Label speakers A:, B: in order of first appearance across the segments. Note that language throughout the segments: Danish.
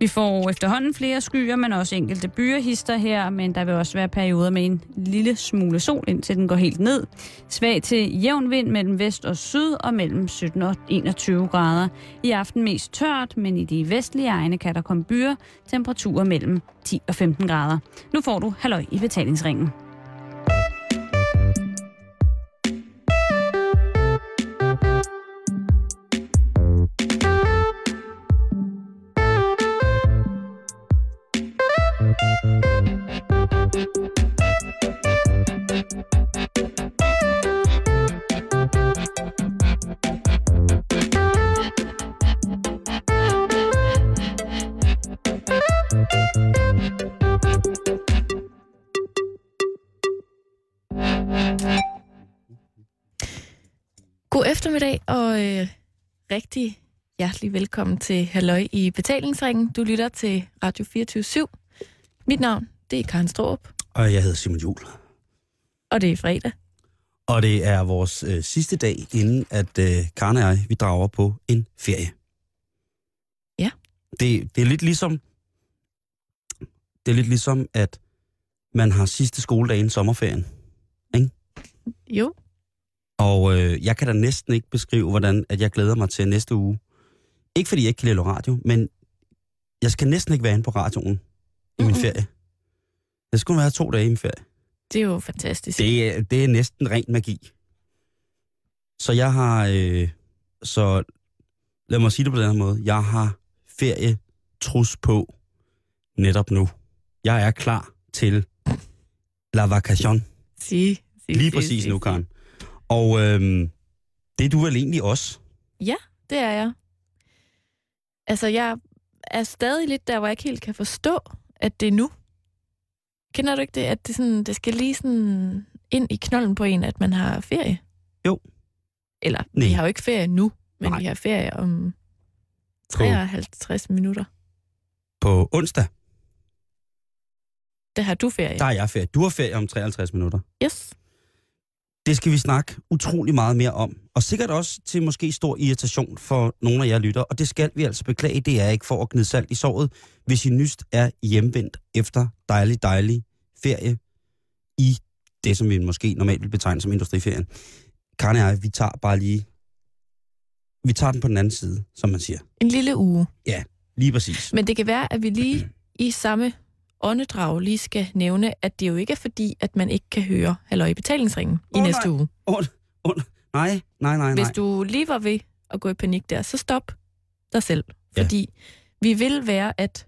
A: Vi får efterhånden flere skyer, men også enkelte byrehister her, men der vil også være perioder med en lille smule sol, indtil den går helt ned. Svag til jævn vind mellem vest og syd og mellem 17 og 21 grader. I aften mest tørt, men i de vestlige egne kan der komme byer, temperaturer mellem 10 og 15 grader. Nu får du halløj i betalingsringen.
B: God eftermiddag og øh, rigtig hjertelig velkommen til Halløj i Betalingsringen. Du lytter til Radio 24 Mit navn, det er Karen Strohrup,
C: Og jeg hedder Simon Jul.
B: og det er fredag.
C: Og det er vores øh, sidste dag, inden at øh, Karen og jeg, vi drager på en ferie.
B: Ja.
C: Det, det er lidt ligesom, det er lidt ligesom, at man har sidste skoledag inden sommerferien.
B: Jo,
C: Og øh, jeg kan da næsten ikke beskrive, hvordan at jeg glæder mig til næste uge. Ikke fordi jeg ikke kan lide at lave radio, men jeg skal næsten ikke være inde på radioen i min
B: Mm-mm.
C: ferie. Jeg skulle være to dage i min ferie.
B: det er jo fantastisk.
C: Det er, det er næsten ren magi. Så jeg har, øh, så lad mig sige det på den her måde, jeg har ferietrus på netop nu. Jeg er klar til la vacation,
B: Sige, sige,
C: lige
B: sige,
C: præcis
B: sige,
C: nu,
B: sige.
C: Karen. Og øhm, det er du vel egentlig også.
B: Det er jeg. Altså, jeg er stadig lidt der, hvor jeg ikke helt kan forstå, at det er nu. Kender du ikke det, at det, sådan, det skal lige sådan ind i knolden på en, at man har ferie?
C: Jo.
B: Eller,
C: Nej.
B: vi har jo ikke ferie nu, men
C: Nej.
B: vi har ferie om
C: På,
B: 53 minutter.
C: på onsdag,
B: Der har du ferie.
C: der er jeg ferie. Du har ferie om 53 minutter.
B: Yes.
C: Det skal vi snakke utrolig meget mere om. Og sikkert også til måske stor irritation for nogle af jer lytter. Og det skal vi altså beklage. Det er ikke for at gnide salt i såret, hvis I nyst er hjemvendt efter dejlig, dejlig ferie i det, som vi måske normalt vil betegne som industriferien. Karen og jeg, vi tager bare lige... Vi tager den på den anden side, som man siger.
B: En lille uge.
C: Lige præcis.
B: Men det kan være, at vi lige i samme åndedrag lige skal nævne, at det jo ikke er fordi, at man ikke kan høre halløj i betalingsringen i
C: Åh,
B: næste
C: nej.
B: uge.
C: Nej, nej, nej,
B: Hvis
C: Ah, nej.
B: du lige var ved at gå i panik der, så stop dig selv.
C: Ja.
B: Fordi vi vil være at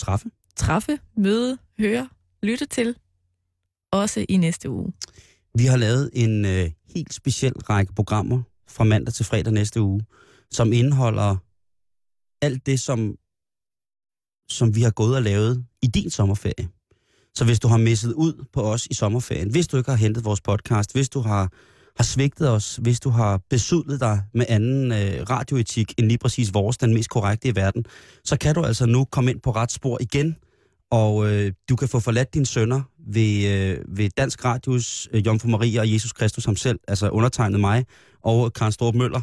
C: Træffe.
B: træffe, møde, høre, lytte til, også i næste uge.
C: Vi har lavet en øh, helt speciel række programmer fra mandag til fredag næste uge, som indeholder alt det, som, som vi har gået og lavet i din sommerferie. Så hvis du har misset ud på os i sommerferien, hvis du ikke har hentet vores podcast, hvis du har, har svigtet os, hvis du har besudlet dig med anden øh, radioetik end lige præcis vores, den mest korrekte i verden, så kan du altså nu komme ind på ret spor igen, og øh, du kan få forladt dine sønner ved, øh, ved Dansk Radios øh, Jomfru Maria og Jesus Kristus ham selv, altså undertegnet mig og Karen Storp Møller.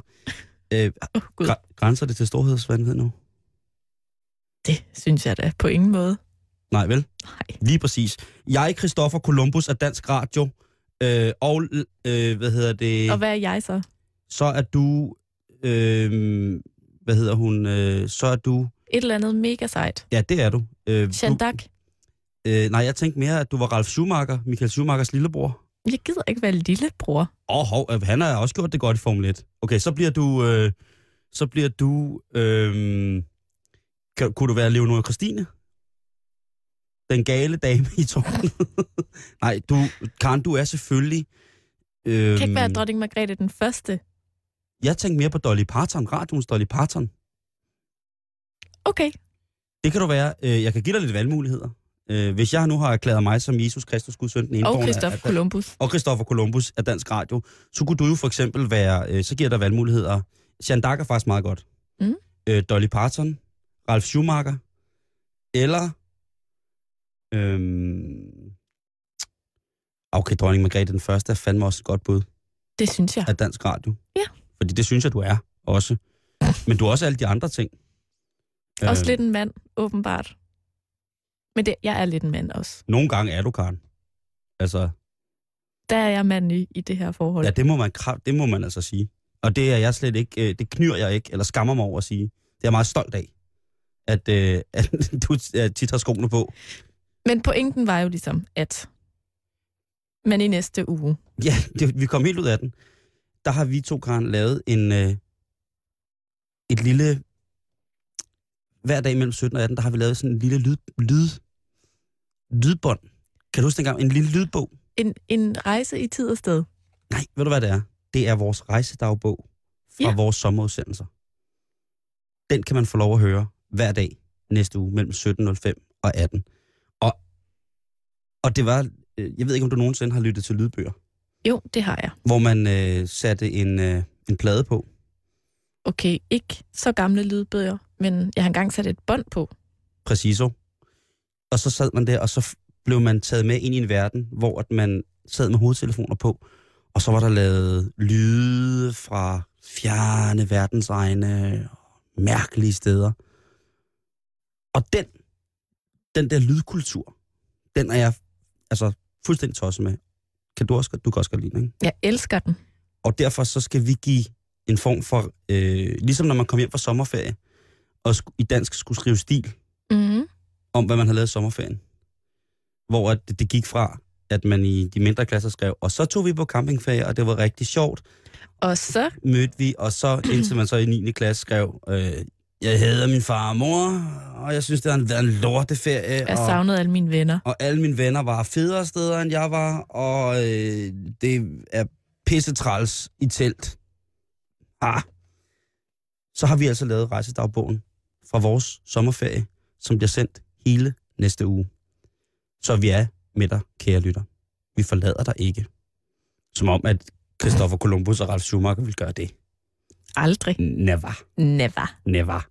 C: Øh,
B: Oh, Gud,
C: gr- grænser det til storhedsvandhed nu?
B: det synes jeg da på ingen måde.
C: Nej, vel?
B: Nej.
C: Lige præcis. Jeg er Christoffer Columbus af Dansk Radio, øh, og øh, hvad hedder det?
B: Og hvad er jeg så?
C: Så er du... Øh, hvad hedder hun? Øh, så er du...
B: Et eller andet mega sejt.
C: Ja, det er du. Øh, du
B: Shandak,
C: øh, nej, jeg tænkte mere, at du var Ralf Schumacher, Michael Schumachers lillebror.
B: jeg gider ikke være lillebror.
C: Åh, oh, hov, øh, han har også gjort det godt i Formel 1. Okay, så bliver du... Øh, så bliver du... Øh, kan, kunne du være Leonora Christine? Den gale dame i tårnet. Nej, du, Karen, du er selvfølgelig... Øh,
B: Jeg kan ikke være dronning Margrethe den første.
C: jeg tænkte mere på Dolly Parton, radioens Dolly Parton.
B: Okay,
C: Det kan du være. Øh, jeg kan give dig lidt valgmuligheder. Øh, hvis jeg nu har erklæret mig som Jesus Kristus, Guds søn, den ene
B: og Christopher Columbus.
C: og Christoffer Columbus af Dansk Radio, så kunne du jo for eksempel være, øh, så giver der valgmuligheder. Jean Dark er faktisk meget godt.
B: Mm.
C: Øh, Dolly Parton, Ralf Schumacher, eller... Øhm, okay, dronning Margrethe den første er fandme også et godt bud
B: Det synes jeg.
C: af Dansk Radio.
B: Ja.
C: Fordi det synes jeg, du er også. Men du er også alle de andre ting.
B: Øh. Også lidt en mand, åbenbart. Men det, jeg er lidt en mand også.
C: Nogle gange er du, Karen. Altså,
B: Der er jeg mand i, i det her forhold.
C: ja,
B: Ja.
C: det må man, krav- det må man altså sige. Og det er jeg slet ikke, øh, det knyr jeg ikke, eller skammer mig over at sige. Det er jeg meget stolt af, at, øh, at du øh, tit har skoene på.
B: Men pointen var jo ligesom, at men i næste uge.
C: Ja, det, vi kom helt ud af den. Der har vi to, Karen, lavet en, øh, et lille... Hver dag mellem 17 og 18, der har vi lavet sådan en lille lyd, lyd, lydbånd. Kan du huske dengang? En lille lydbog.
B: En, en rejse i tid og sted.
C: Nej, ved du hvad det er? Det er vores rejsedagbog fra
B: Ja.
C: ja. vores sommerudsendelser. Den kan man få lov at høre hver dag næste uge mellem 17.05 og 18. Og, og det var... øh, Jeg ved ikke, om du nogensinde har lyttet til lydbøger,
B: Jo, det har jeg.
C: hvor man øh, satte en, øh, en plade på,
B: Okay, ikke så gamle lydbøger, men jeg har engang sat et bånd på.
C: Præciso. Og så sad man der, og så f- blev man taget med ind i en verden, hvor at man sad med hovedtelefoner på, og så var der lavet lyde fra fjerne verdensegne, og mærkelige steder. Og den, den der lydkultur, den er jeg altså fuldstændig tosset med. Kan du også godt- du kan også godt lide den, ikke?
B: Jeg elsker den.
C: Og derfor så skal vi give en form for, øh, ligesom når man kom hjem fra sommerferie, og sku- i dansk skulle skrive stil,
B: Mm-hmm.
C: om, hvad man havde lavet i sommerferien. Hvor at det, det gik fra, at man i de mindre klasser skrev, og så tog vi på campingferie, og det var rigtig sjovt,
B: Og så,
C: mødte vi, og så indtil man så i 9. klasse skrev, øh, jeg hader min far og mor, og jeg synes, det har været en lorteferie,
B: jeg
C: og,
B: savnede alle mine venner.
C: og alle mine venner var federe steder, end jeg var, og øh, det er pisse træls i telt. Ah. Så har vi altså lavet rejsedagbogen fra vores sommerferie, som bliver sendt hele næste uge. Så vi er med dig, kære lytter. Vi forlader dig ikke. Som om, at Christopher Columbus og Ralf Schumacher vil gøre det.
B: Aldrig.
C: Never.
B: Never.
C: Never.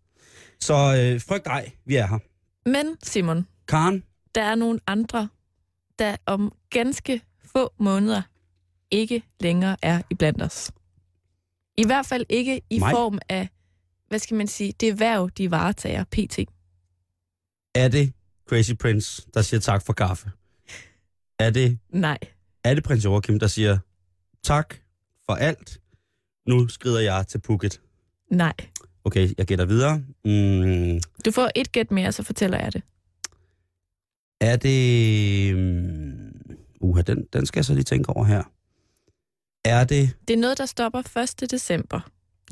C: Så øh, frygt ej, vi er her.
B: Men Simon,
C: Karen,
B: der er nogle andre, der om ganske få måneder ikke længere er i blandt os. I hvert fald ikke i
C: Nej.
B: Nej. form af, hvad skal man sige, det værv, de varetager pt.
C: er det Crazy Prince, der siger tak for kaffe? Er det
B: Nej.
C: er det prins Joachim, der siger, tak for alt, nu skrider jeg til Phuket.
B: Nej.
C: Okay, jeg gætter videre. Mm,
B: Du får et gæt mere, så fortæller jeg det.
C: er det... mm, Uha, den, den skal jeg så lige tænke over her. Er det...
B: Det er noget, der stopper 1. december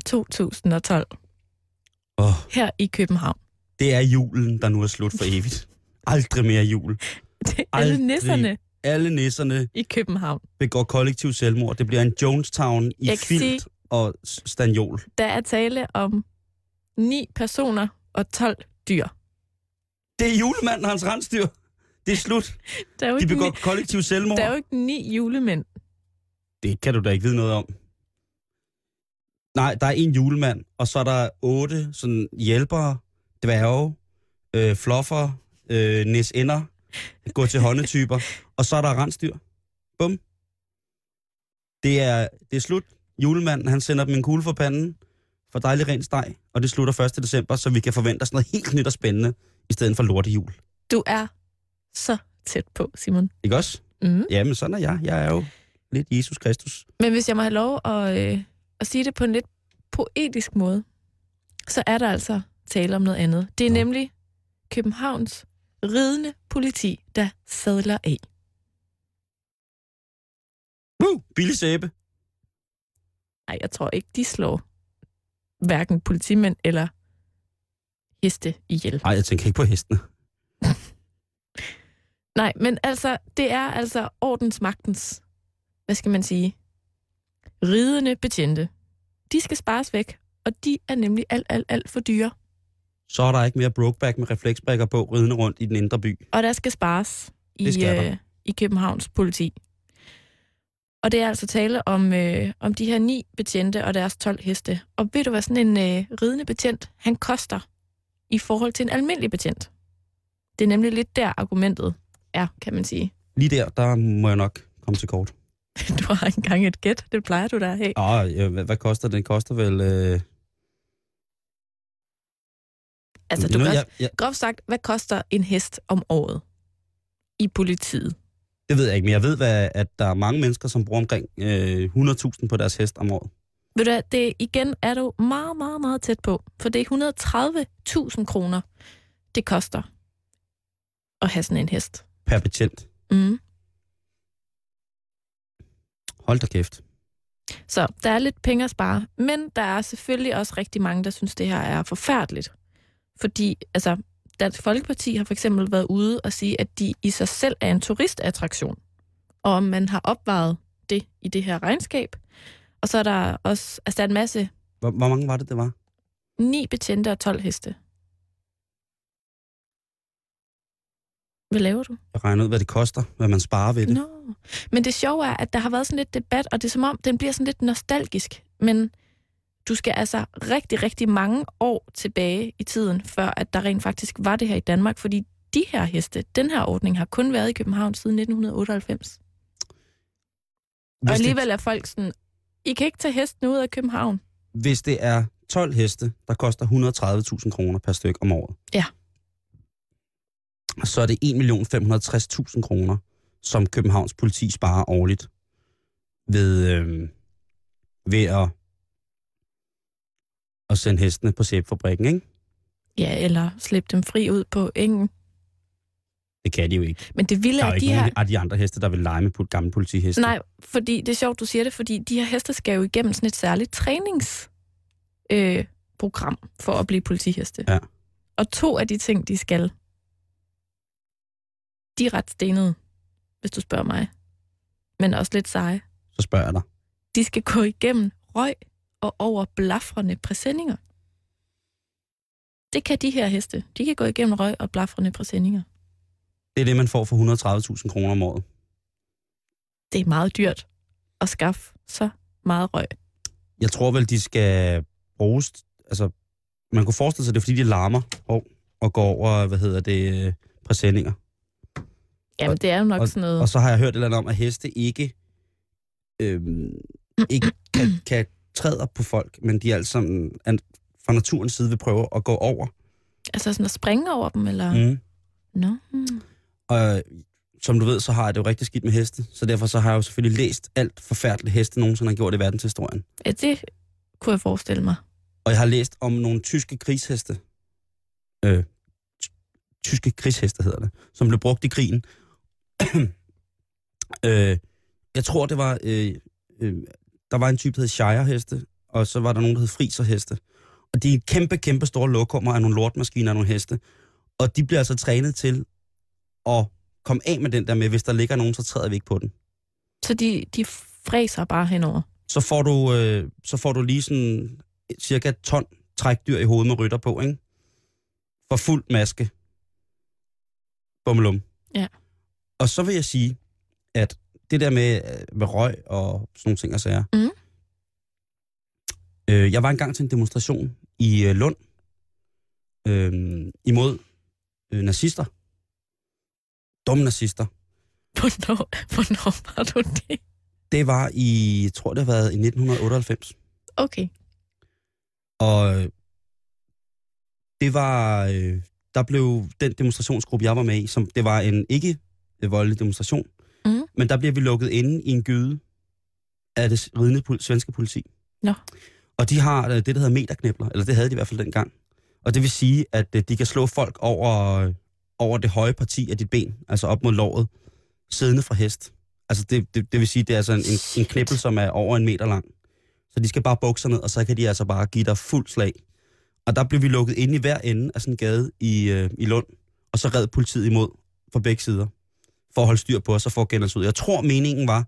B: 2012
C: Åh,
B: her i København.
C: det er julen, der nu er slut for evigt. Aldrig mere jul.
B: Det er
C: Aldrig.
B: alle nisserne
C: Alle nisserne
B: i København.
C: begår kollektiv selvmord. Det bliver en Jonestown i
B: Jeg kan
C: filt
B: sige-
C: og s- stanjol.
B: Der er tale om ni personer og 12 dyr.
C: Det er julemanden og hans rensdyr. Det er slut.
B: Der er jo,
C: De
B: ikke,
C: begår
B: ni,
C: kollektiv selvmord.
B: der er jo ikke ni julemænd.
C: Det kan du da ikke vide noget om. Nej, der er en julemand, og så er der otte sådan hjælpere, dværge, øh, fluffer, øh, næsender, gå til håndetyper, og så er der rensdyr. Bum. Det er, det er slut. Julemanden, han sender dem en kugle for panden, for dejlig ren steg, og det slutter 1. december, så vi kan forvente os noget helt nyt og spændende, i stedet for lortejul.
B: Du er så tæt på, Simon.
C: Ikke også?
B: Mm.
C: Jamen, sådan er jeg. Jeg er jo lidt Jesus Kristus.
B: Men hvis jeg må have lov at, øh, at sige det på en lidt poetisk måde, så er der altså tale om noget andet. Det er
C: Nå.
B: nemlig Københavns ridende politi, der sadler af.
C: Woo! Billig sæbe.
B: Nej, jeg tror ikke, de slår hverken politimænd eller heste ihjel.
C: Nej, jeg tænker ikke på hestene.
B: Nej, men altså, det er altså ordensmagtens, hvad skal man sige, ridende betjente. De skal spares væk, og de er nemlig alt, alt, alt for dyre.
C: så er der ikke mere Brokeback med refleksbrækker på, ridende rundt i den indre by.
B: Og der skal spares i,
C: Det skal der.
B: øh, i Københavns politi. Og det er altså tale om, øh, om de her ni betjente og deres 12 heste. Og ved du hvad sådan en øh, ridende betjent, han koster i forhold til en almindelig betjent? Det er nemlig lidt der argumentet er, kan man sige.
C: Lige der, der må jeg nok komme til kort.
B: Du har ikke engang et gæt, det plejer du da at have.
C: øh, Åh, ja, hvad, hvad koster den? Den koster vel... Øh,
B: Altså, du
C: nu,
B: kan også,
C: jeg, jeg,
B: groft sagt, hvad koster en hest om året i politiet?
C: det ved jeg ikke, men jeg ved, hvad, at der er mange mennesker, som bruger omkring øh, 100.000 på deres hest om året.
B: Ved du hvad, det igen er du meget, meget, meget tæt på, for det er 130.000 kroner, det koster at have sådan en hest.
C: Per betjent.
B: Mm.
C: Hold da kæft.
B: Så der er lidt penge at spare, men der er selvfølgelig også rigtig mange, der synes, det her er forfærdeligt. Fordi altså, Dansk Folkeparti har for eksempel været ude og sige, at de i sig selv er en turistattraktion, og om man har opvejet det i det her regnskab. Og så er der også altså, der er en masse
C: Hvor, hvor mange var det, det var?
B: ni betjente og 12 heste. Hvad laver du?
C: Jeg regner ud, hvad det koster, hvad man sparer ved det.
B: Nå. Men det sjove er, at der har været sådan lidt debat, og det er som om, den bliver sådan lidt nostalgisk. Men du skal altså rigtig, rigtig mange år tilbage i tiden, før at der rent faktisk var det her i Danmark, fordi de her heste, den her ordning, har kun været i København siden 1998. Og
C: Hvis det-
B: alligevel er folk sådan, I kan ikke tage hesten ud af København.
C: hvis det er 12 heste, der koster 130.000 kroner per styk om året.
B: Ja.
C: Så er det 1.560.000 kroner, som Københavns politi sparer årligt ved, øh, ved at, at sende hestene på sæbefabrikken, ikke?
B: Ja, eller slippe dem fri ud på engen.
C: Det kan de jo ikke.
B: Men det vilde
C: Der er
B: er,
C: jo
B: at
C: ikke
B: de her...
C: nogen af de andre heste, der vil lege med på gamle politiheste.
B: Nej, fordi det er sjovt, du siger det, fordi de her heste skal jo igennem sådan et særligt træningsprogram øh, program for at blive politiheste.
C: Ja.
B: Og to af de ting, de skal, de er ret stenede, hvis du spørger mig. Men også lidt seje.
C: Så spørger jeg dig.
B: De skal gå igennem røg og over blafrende præsendinger. Det kan de her heste. De kan gå igennem røg og blafrende præsendinger.
C: Det er det, man får for 130.000 kroner om året.
B: Det er meget dyrt at skaffe så meget røg.
C: Jeg tror vel, de skal bruges... Altså, man kunne forestille sig, det er, fordi de larmer og, og går over, hvad hedder det, øh, præsendinger.
B: Jamen, det er jo nok sådan noget...
C: Og så har jeg hørt et eller andet om, at heste ikke, øhm, ikke kan, kan træde på folk, men de er altså fra naturens side vil prøve at gå over.
B: Altså sådan at springe over dem, eller? Mm.
C: Mm.
B: Nå. Mm.
C: Og øh, som du ved, så har jeg det jo rigtig skidt med heste, så derfor så har jeg jo selvfølgelig læst alt forfærdeligt heste nogensinde har gjort i verdenshistorien.
B: Ja, det kunne jeg forestille mig.
C: Og jeg har læst om nogle tyske krigsheste. Øh, ty- tyske krigsheste hedder det. Som blev brugt i krigen. øh, jeg tror, det var... Øh, øh, der var en type, der hed Shire-heste, og så var der nogen, der hed Friser-heste. Og de er kæmpe, kæmpe store lokummer af nogle lortmaskiner og nogle heste. Og de bliver altså trænet til at komme af med den der med, hvis der ligger nogen, så træder vi ikke på den.
B: Så de, de fræser bare henover.
C: Så får du, øh, så får du lige sådan cirka et ton trækdyr i hovedet med rytter på, ikke? For fuld maske. Bummelum.
B: Ja.
C: Og så vil jeg sige, at det der med, øh, med røg og sådan nogle ting og sager.
B: Mhm.
C: Øh, jeg var engang til en demonstration i øh, Lund øh, imod øh, nazister. Dumme nazister.
B: Hvornår, hvornår var du det?
C: Det var i, jeg tror det har været i 1998.
B: Okay.
C: Og øh, det var, øh, der blev den demonstrationsgruppe, jeg var med i, som det var en ikke øh, voldelig demonstration,
B: Mhm.
C: men der bliver vi lukket inde i en gyde af det ridende pol- svenske politi.
B: Nå.
C: Og de har øh, det, der hedder meterknæbler, eller det havde de i hvert fald dengang. Og det vil sige, at øh, de kan slå folk over, øh, over det høje parti af dit ben, altså op mod låret, siddende fra hest. Altså det, det, det vil sige, det er altså en, en, en knippel, som er over en meter lang. Så de skal bare bukke sig ned, og så kan de altså bare give dig fuld slag. Og der blev vi lukket ind i hver ende af sådan en gade i, øh, i Lund, og så red politiet imod fra begge sider, for at holde styr på os og for at gælde os ud. Jeg tror, meningen var,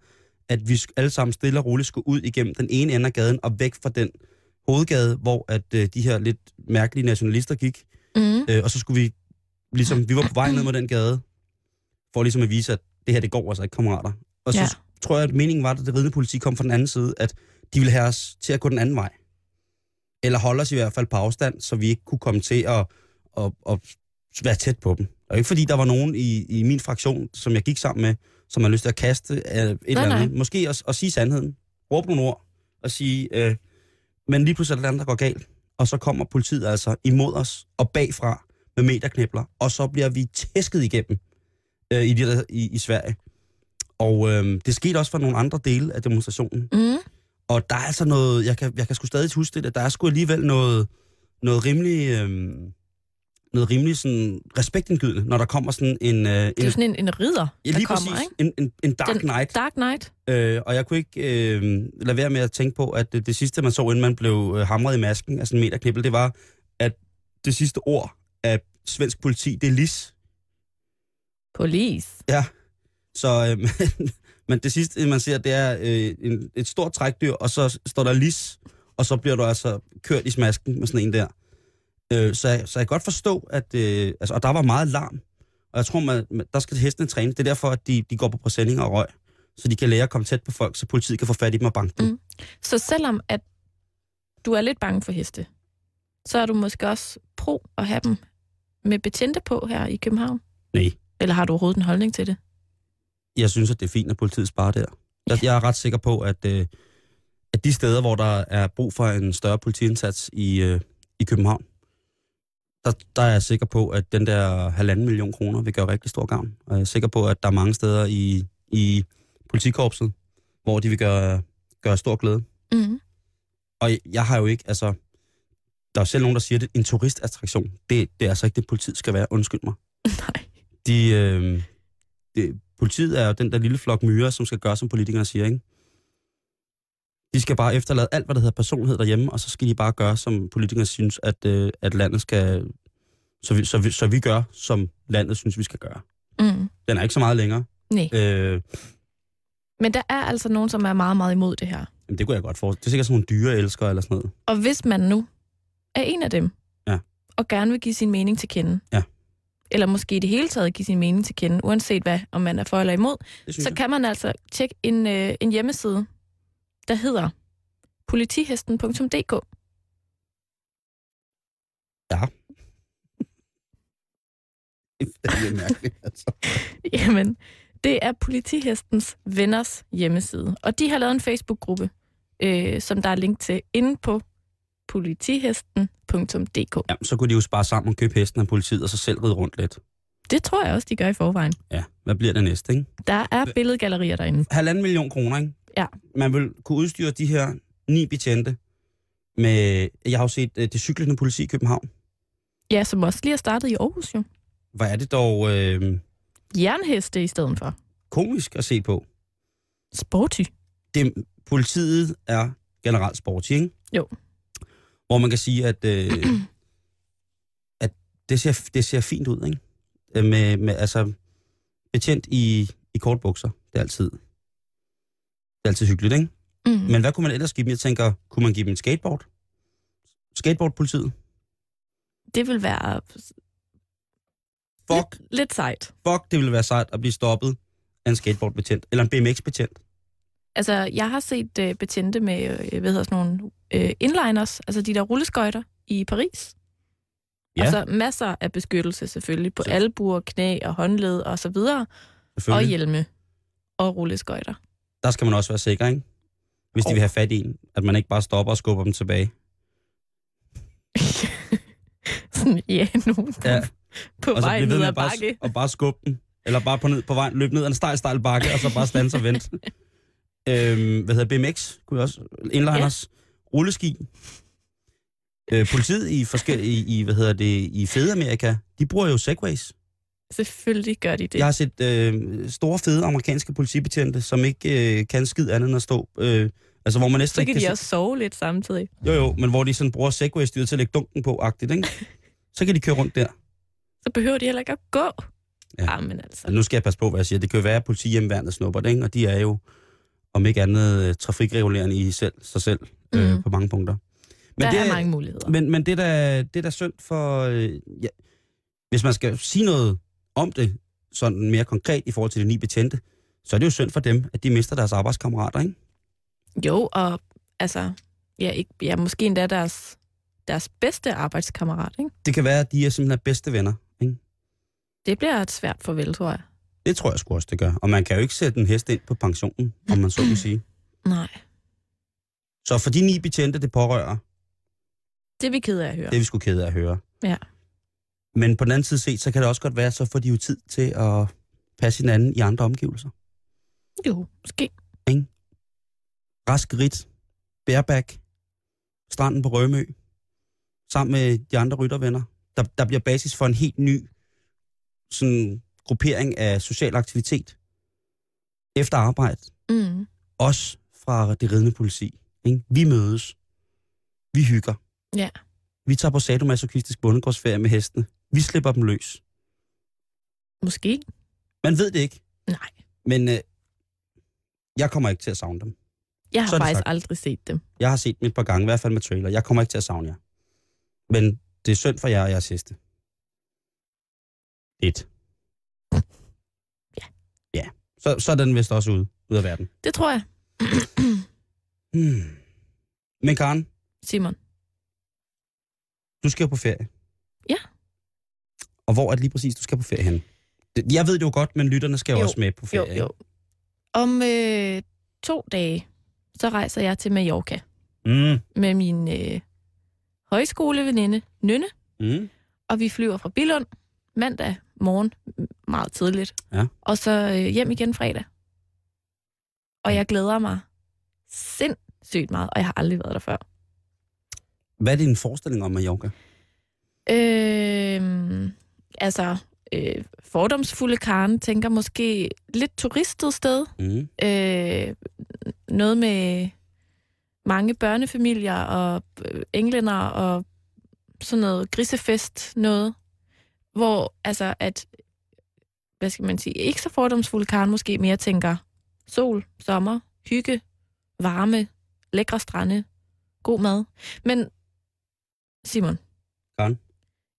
C: at vi sk- alle sammen stille og roligt skulle ud igennem den ene ende af gaden og væk fra den hovedgade, hvor at øh, de her lidt mærkelige nationalister gik,
B: Mm.
C: Øh, og så skulle vi, ligesom, vi var på vej ned mod den gade, for ligesom at vise, at det her, det går altså ikke, kammerater. Og så
B: Ja.
C: ja. tror jeg, at meningen var, at det ridende politi kom fra den anden side, at de ville have os til at gå den anden vej. Eller holde os i hvert fald på afstand, så vi ikke kunne komme til at, at, at være tæt på dem. Og ikke fordi der var nogen i, i min fraktion, som jeg gik sammen med, som havde lyst til at kaste øh, et nej, eller
B: nej.
C: andet. Måske at, at sige sandheden. Råbe nogle ord og sige, øh, men lige pludselig er der noget, andet, der går galt. og så kommer politiet altså imod os og bagfra med meterknæbler, og så bliver vi tæsket igennem øh, i, de der, i, i Sverige. Og øh, det skete også for nogle andre dele af demonstrationen.
B: Mm.
C: Og der er altså noget, jeg kan, jeg kan sgu stadig huske det, at der er sgu alligevel noget, noget rimelig, øh, noget rimelig sådan respektindgydende, når der kommer sådan en... Øh, en
B: Det er jo sådan en, en ridder,
C: ja,
B: der
C: lige
B: kommer,
C: præcis,
B: ikke?
C: en, en, en dark
B: Den-
C: night.
B: Dark Knight.
C: Øh, og jeg kunne ikke øh, lade være med at tænke på, at det, det sidste, man så, inden man blev øh, hamret i masken af sådan en meterknibbel, det var, at det sidste ord af svensk politi, det er lis.
B: Police.
C: Så, øh, men det sidste, man ser, det er øh, en, et stort trækdyr, og så står der lis, og så bliver du altså kørt i smasken med sådan en der. Øh, så, jeg- så jeg kan godt forstå, at... Øh, altså, og der var meget larm. Og jeg tror, man, man- der skal hestene træne. Det er derfor, at de, de går på præsendinger og røg, så de kan lære at komme tæt på folk, så politiet kan få fat i dem og banke dem.
B: Mm. Så selvom at du er lidt bange for heste, så er du måske også pro at have dem med betjente på her i København?
C: Nej.
B: Eller har du overhovedet en holdning til det?
C: jeg synes, at det er fint, at politiet sparer der. Jeg, jeg er ret sikker på, at, øh, at de steder, hvor der er brug for en større politiindsats i, øh, i København, der, der er jeg sikker på, at den der halvanden million kroner vil gøre rigtig stor gavn. Og jeg er sikker på, at der er mange steder i, i politikorpset, hvor de vil gøre, gøre stor glæde.
B: Mm.
C: Og jeg, jeg har jo ikke, altså... Der er jo selv nogen, der siger, at en turistattraktion, det, det er altså ikke det, politiet skal være. Undskyld mig.
B: Nej.
C: De, øh, det, politiet er jo den der lille flok myrer, som skal gøre, som politikerne siger, ikke? De skal bare efterlade alt, hvad der hedder personlighed derhjemme, og så skal de bare gøre, som politikerne synes, at, øh, at landet skal... Så vi, så, vi, så vi gør, som landet synes, vi skal gøre.
B: Mm.
C: Den er ikke så meget længere.
B: Nej.
C: Øh,
B: Men der er altså nogen, som er meget, meget imod det her.
C: jamen, det kunne jeg godt forestille. Det er sikkert sådan nogle dyreelskere eller sådan noget.
B: Og hvis man nu er en af dem,
C: Ja.
B: og gerne vil give sin mening til kende,
C: Ja.
B: eller måske i det hele taget give sin mening til kende, uanset hvad, om man er for eller imod,
C: Det synes
B: så
C: jeg.
B: kan man altså tjekke en, øh, en hjemmeside, der hedder politihesten.dk.
C: Det er mærkeligt, altså.
B: Jamen, det er politihestens venners hjemmeside. Og de har lavet en Facebook-gruppe, øh, som der er link til inde på politihesten.dk.
C: Jamen, så kunne de jo spare sammen og købe hesten af politiet, og så selv ride rundt lidt.
B: Det tror jeg også, de gør i forvejen.
C: Ja, hvad bliver det næste, ikke?
B: Der er billedgallerier derinde.
C: halvanden million kroner, ikke?
B: Ja.
C: Man vil kunne udstyre de her ni betjente med... Jeg har jo set øh, det cyklende politi i København.
B: Ja, som også lige har startet i Aarhus jo.
C: Hvor er det dog øh,
B: Jernheste i stedet for.
C: komisk at se på.
B: Sporty.
C: Det, politiet er generelt sporty, ikke?
B: Jo.
C: Hvor man kan sige, at, øh, at det, ser, det ser fint ud, ikke? Øh, Med, med, altså, betjent i, i kort bukser. Det er altid, det er altid hyggeligt, ikke?
B: Mm.
C: Men hvad kunne man ellers give dem? Jeg tænker, kunne man give dem et skateboard? Skateboardpolitiet?
B: Det vil være
C: Fuck,
B: lidt, lidt sejt.
C: fuck, det ville være sejt at blive stoppet af en skateboardbetjent. Eller en BMX-betjent.
B: Altså, jeg har set øh, betjente med, øh, hvad hedder sådan nogle, øh, inliners, altså de der rulleskøjter i Paris.
C: Ja.
B: Og så masser af beskyttelse selvfølgelig på
C: Så-
B: albuer, knæ og håndled og så videre. Og
C: Selvfølgelig.
B: hjelme og rulleskøjter.
C: Der skal man også være sikker, ikke? Hvis de
B: Jo.
C: vil have fat i en. At man ikke bare stopper og skubber dem tilbage.
B: sådan, ja, nogen på,
C: Ja.
B: ja. på
C: og så
B: vej
C: blive Altså, ved
B: ned
C: med
B: ad
C: bare,
B: bakke.
C: og bare skubbe dem. Eller bare på, ned, på vejen, løbe ned ad en stejl, stejl bakke, og så bare stanse og vente. øhm, hvad hedder BMX? Kunne jeg også? Inliners? Ja. Rulleski? Øh, politiet i, forskellige, i, i, hvad hedder det, i Fedamerika, de bruger jo segways.
B: Selvfølgelig gør de det.
C: Jeg har set øh, store, fede amerikanske politibetjente, som ikke øh, kan skid andet end at stå. Øh, altså, hvor man næsten
B: så
C: ikke
B: kan de
C: se-
B: også sove lidt samtidig.
C: Jo, jo, men hvor de sådan bruger Segway-styret til at lægge dunken på, agtigt, ikke? Så kan de køre rundt der.
B: Så behøver de heller ikke at gå.
C: Ja.
B: Ja. Jamen altså.
C: Så nu skal jeg passe på, hvad jeg siger. Det kan jo være, at politihjemmeværnet snupper det, ikke? Og de er jo, om ikke andet, øh, trafikregulerende i selv, sig selv øh,
B: Mm.
C: på mange punkter. Men
B: der
C: det,
B: er mange muligheder.
C: Men, men det, der, det der synd for... Øh, ja, hvis man skal sige noget om det, sådan mere konkret i forhold til de ni betjente, så er det jo synd for dem, at de mister deres arbejdskammerater, ikke?
B: Jo, og altså, ja, ikke, ja måske endda deres, deres bedste arbejdskammerat. Ikke?
C: Det kan være, at de er simpelthen bedste venner. Ikke?
B: Det bliver et svært farvel, tror jeg.
C: Det tror jeg sgu også, det gør. Og man kan jo ikke sætte en hest ind på pensionen, om man så må sige.
B: Nej,
C: Så for de ni betjente, det pårører,
B: Det er vi ked af at høre.
C: Det er vi sgu kede af at høre.
B: Ja.
C: Men på den anden side set, så kan det også godt være, så får de jo tid til at passe hinanden i andre omgivelser.
B: Jo, måske.
C: Rask Rit, Bareback, Stranden på Rømø, sammen med de andre ryttervenner. Der, der bliver basis for en helt ny sådan, gruppering af social aktivitet efter arbejde,
B: Mm.
C: også fra det ridende politi. Ikke? Vi mødes. Vi hygger.
B: Ja.
C: Vi tager på sadomasochistisk bondegårdsferie med hestene. Vi slipper dem løs.
B: Måske.
C: Man ved det ikke,
B: Nej.
C: men øh, jeg kommer ikke til at savne dem.
B: Jeg har
C: Så er det
B: faktisk
C: sagt.
B: aldrig set dem.
C: Jeg har set dem et par gange, i hvert fald med trailer. Jeg kommer ikke til at savne jer. Men det er synd for jer, og jeg er sidste. Et.
B: Ja.
C: Ja. Så, så er den vist også ude, ude af verden.
B: Det tror jeg.
C: Hmm. Men Karen,
B: Simon.
C: du skal jo på ferie.
B: Ja.
C: Og hvor er det lige præcis, du skal på ferie henne? Det- Jeg ved det jo godt, men lytterne skal jo,
B: Jo,
C: også med på
B: Jo,
C: ferie.
B: jo. Om øh, to dage, så rejser jeg til Mallorca
C: Mm.
B: med min øh, højskoleveninde Nynne,
C: Mm.
B: og vi flyver fra Billund mandag morgen m- meget tidligt.
C: Ja.
B: Og så øh, hjem igen fredag. Og jeg glæder mig sindssygt meget, og jeg har aldrig været der før.
C: Hvad er din forestilling om Mallorca?
B: Øh, altså, øh, fordomsfulde Karen tænker måske lidt turistet sted.
C: Mm.
B: Øh, noget med mange børnefamilier og øh, englænder og sådan noget grisefest noget. Hvor altså, at, hvad skal man sige, ikke så fordomsfulde Karen måske mere tænker sol, sommer, hygge, varme, lækre strande, god mad. Men Simon,
C: Karen?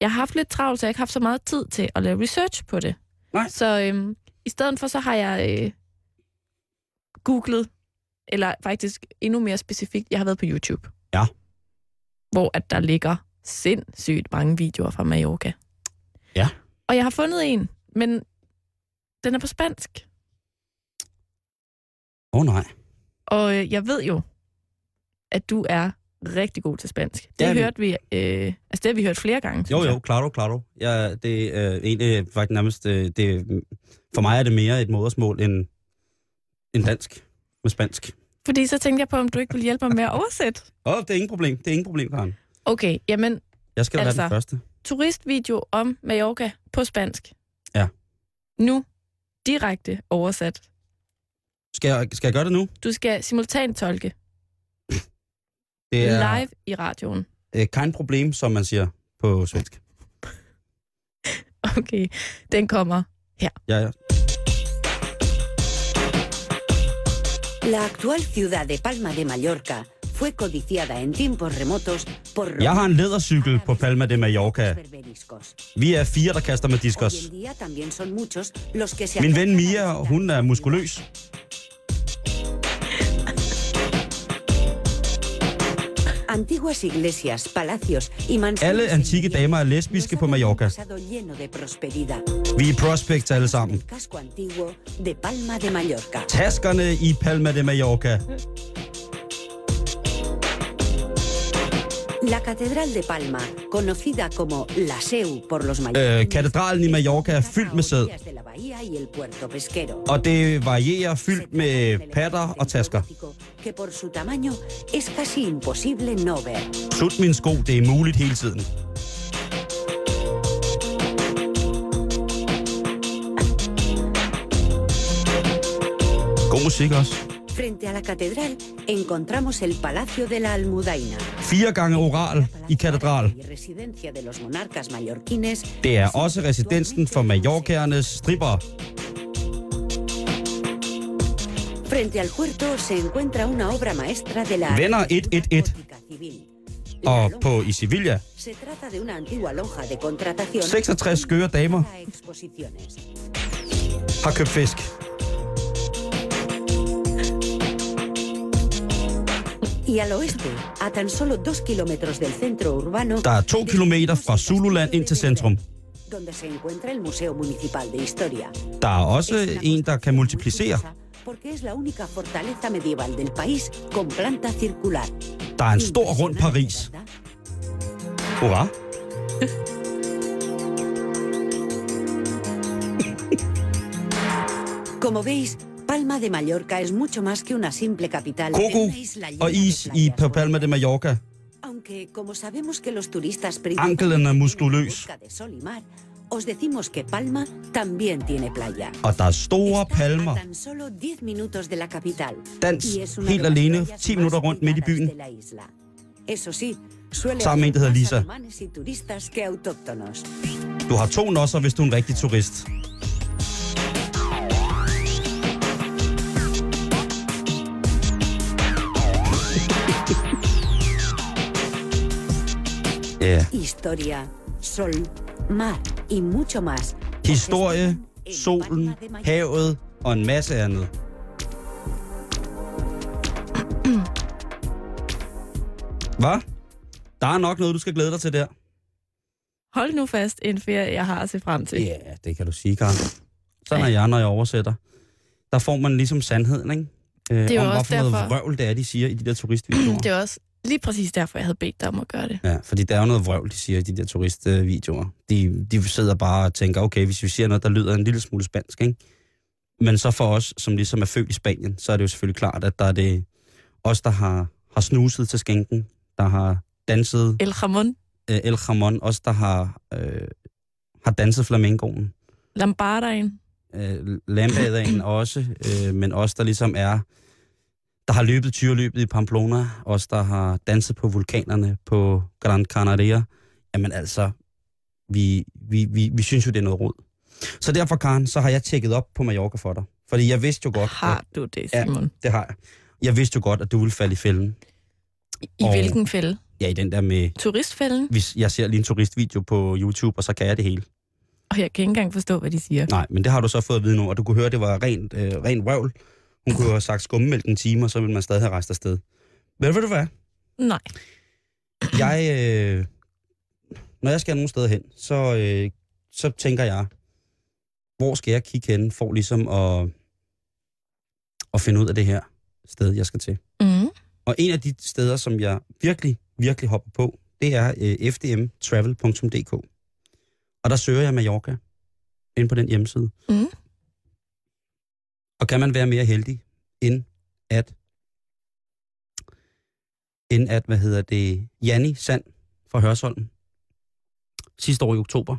B: jeg har haft lidt travlt, så jeg har ikke haft så meget tid til at lave research på det.
C: Nej.
B: Så øhm, i stedet for, så har jeg øh, googlet, eller faktisk endnu mere specifikt, jeg har været på YouTube.
C: Ja.
B: Hvor at der ligger sindssygt mange videoer fra Mallorca.
C: Ja.
B: Og jeg har fundet en, men den er på spansk.
C: Åh oh, nej.
B: Og øh, jeg ved jo, at du er rigtig god til spansk. Det
C: Jamen.
B: hørte vi, øh, altså det har vi hørt flere gange.
C: Jo,
B: synes jeg.
C: jo, klaro, klaro. Ja, det er øh, egentlig faktisk nærmest, øh, det, for mig er det mere et modersmål end, end dansk med spansk.
B: Fordi så tænkte jeg på, om du ikke ville hjælpe mig med at oversætte.
C: Åh, oh, det er ingen problem, det er ingen problem, Karen.
B: Okay, jamen,
C: Jeg skal da altså... være den
B: Altså.
C: første.
B: turistvideo om Mallorca på spansk.
C: Ja.
B: Nu, direkte oversat.
C: Skal jeg, skal jeg gøre det nu?
B: Du skal simultant tolke
C: Det
B: yeah.
C: er
B: live i radioen.
C: øh, kein problem, som man siger på svensk.
B: Okay, den kommer.
C: Ja, ja.
D: La actual ciudad de Palma de Mallorca fue codiciada en tiempos remotos por...
C: Jeg har en lædercykel på Palma de Mallorca.
D: Berberiscos.
C: Vi er fire, der kaster med diskos.
D: Hoy en día también son muchos los que se
C: Min ven
D: acercan a
C: Mia,
D: visitar
C: hun er
D: la
C: muskuløs.
D: ciudad. Antiguas iglesias, palacios y mansiones
C: Alle antikke
D: señoriales
C: damer er
D: nos
C: lesbiske
D: han
C: på Mallorca.
D: dejado un pasado lleno de prosperidad.
C: Vi er prospects alle sammen.
D: El casco antiguo de Palma de Mallorca.
C: Taskerne i Palma de Mallorca.
D: La Catedral de Palma, conocida como la SEU por los
C: Øh,
D: mallorquines,
C: katedralen i Mallorca er fyldt med sæd.
D: orillas de la bahía y el puerto pesquero.
C: Og det varierer fyldt med patter og tasker.
D: Que por su tamaño es casi imposible no ver.
C: Slut min sko, det er muligt hele tiden. God musik også.
D: Frente a la catedral encontramos el Palacio de la Almudaina.
C: Fire gange oral Mm, i katedral.
D: Y residencia de los monarcas mallorquines.
C: Det er også residensen for Mallorcaernes stripper.
D: Frente al puerto se encuentra una obra maestra de la
C: Venner
D: arquitectura
C: 111.
D: gótica civil. La
C: Og
D: lonja
C: på i Sevilla.
D: Se trata de una antigua lonja de contratación.
C: 66 skøre damer
D: para exposiciones.
C: har købt fisk.
D: Y al oeste, a tan solo dos kilómetros del centro urbano,
C: Der er to kilometer fra Zululand ind til centrum.
D: donde se encuentra el Museo Municipal de Historia.
C: Der er også
D: Es una
C: en, der kan
D: construcción muy
C: multiplicere.
D: curiosa, Porque es la única fortaleza medieval del país con planta circular.
C: Der er en stor rund Paris.
D: Impresionante, ¿verdad?
C: Hurra.
D: Como veis, Palma de Mallorca es mucho más que una simple capital.
C: Coco
D: es una isla llena
C: Og
D: de
C: is i
D: playas
C: Palma de Mallorca.
D: Aunque, como sabemos que los turistas
C: Ankelen er
D: vienen en
C: muskuløs.
D: busca de sol y mar, os decimos que Palma también tiene playa.
C: Og der er store
D: Está
C: palmer.
D: a tan solo 10 minutos de la capital.
C: Dans
D: y es una de
C: helt
D: las
C: alene,
D: playas
C: 10
D: más
C: minutter rundt midt i
D: cuidadas
C: byen.
D: de la isla. Eso sí, suele
C: Sammen med en, der hedder
D: más
C: Lisa.
D: alemanes y turistas que autóctonos.
C: Du har to nosser, hvis du er en rigtig turist. Ja.
D: Historia, sol, mar y mucho más.
C: Historie,
D: En
C: solen,
D: Palma de Mallorca.
C: havet og en masse andet. Hvad? Der er nok noget, du skal glæde dig til der.
B: Hold nu fast en ferie, jeg har at se frem til.
C: Ja, det kan du sige, Karen. Sådan er jeg, når jeg oversætter. Der får man ligesom sandheden, ikke? Øh,
B: er jo
C: om,
B: også
C: hvorfor noget
B: derfor-
C: vrøvl det er, de siger i de der turistvideoer.
B: Det er også lige præcis derfor, jeg havde bedt dig om at gøre det.
C: Ja, fordi der er jo noget vrøvl, de siger i de der turistvideoer. De, de sidder bare og tænker, okay, hvis vi siger noget, der lyder en lille smule spansk, ikke? Men så for os, som ligesom er født i Spanien, så er det jo selvfølgelig klart, at der er det os, der har, har snuset til skænken, der har danset
B: El Ramon
C: øh, El Jamon, os, der har, øh, har danset flamencoen.
B: Lambardaen.
C: øh, landbaderen også, øh, men os, der ligesom er, der har løbet tyreløbet i Pamplona, os, der har danset på vulkanerne på Gran Canaria, jamen altså, vi, vi, vi, vi synes jo, det er noget rod. Så derfor, Karen, så har jeg tjekket op på Mallorca for dig. Fordi jeg vidste jo godt, at,
B: Har du det,
C: Ja.
B: Simon?
C: det har jeg. Jeg vidste jo godt, at du ville falde i fælden.
B: I, i
C: Og-
B: hvilken fælde?
C: Ja, i den der med,
B: Turistfælden?
C: hvis jeg ser lige en turistvideo på YouTube, og så kan jeg det hele.
B: Og jeg kan ikke engang forstå, hvad de siger.
C: Nej, men det har du så fået at vide nu, og du kunne høre, at det var rent, øh, rent røvl. Hun kunne have sagt skummemælk en time, og så ville man stadig have rejst afsted. Men ved du hvad?
B: Nej.
C: Jeg, øh, når jeg skal nogen steder hen, så, øh, så tænker jeg, hvor skal jeg kigge hen for ligesom at, at finde ud af det her sted, jeg skal til.
B: Mm.
C: Og en af de steder, som jeg virkelig, virkelig hopper på, det er øh, fdmtravel.dk. Og der søger jeg Mallorca ind på den hjemmeside.
B: Mm.
C: Og kan man være mere heldig, end at, end at hvad hedder det, Janni Sand fra Hørsholm, sidste år i oktober,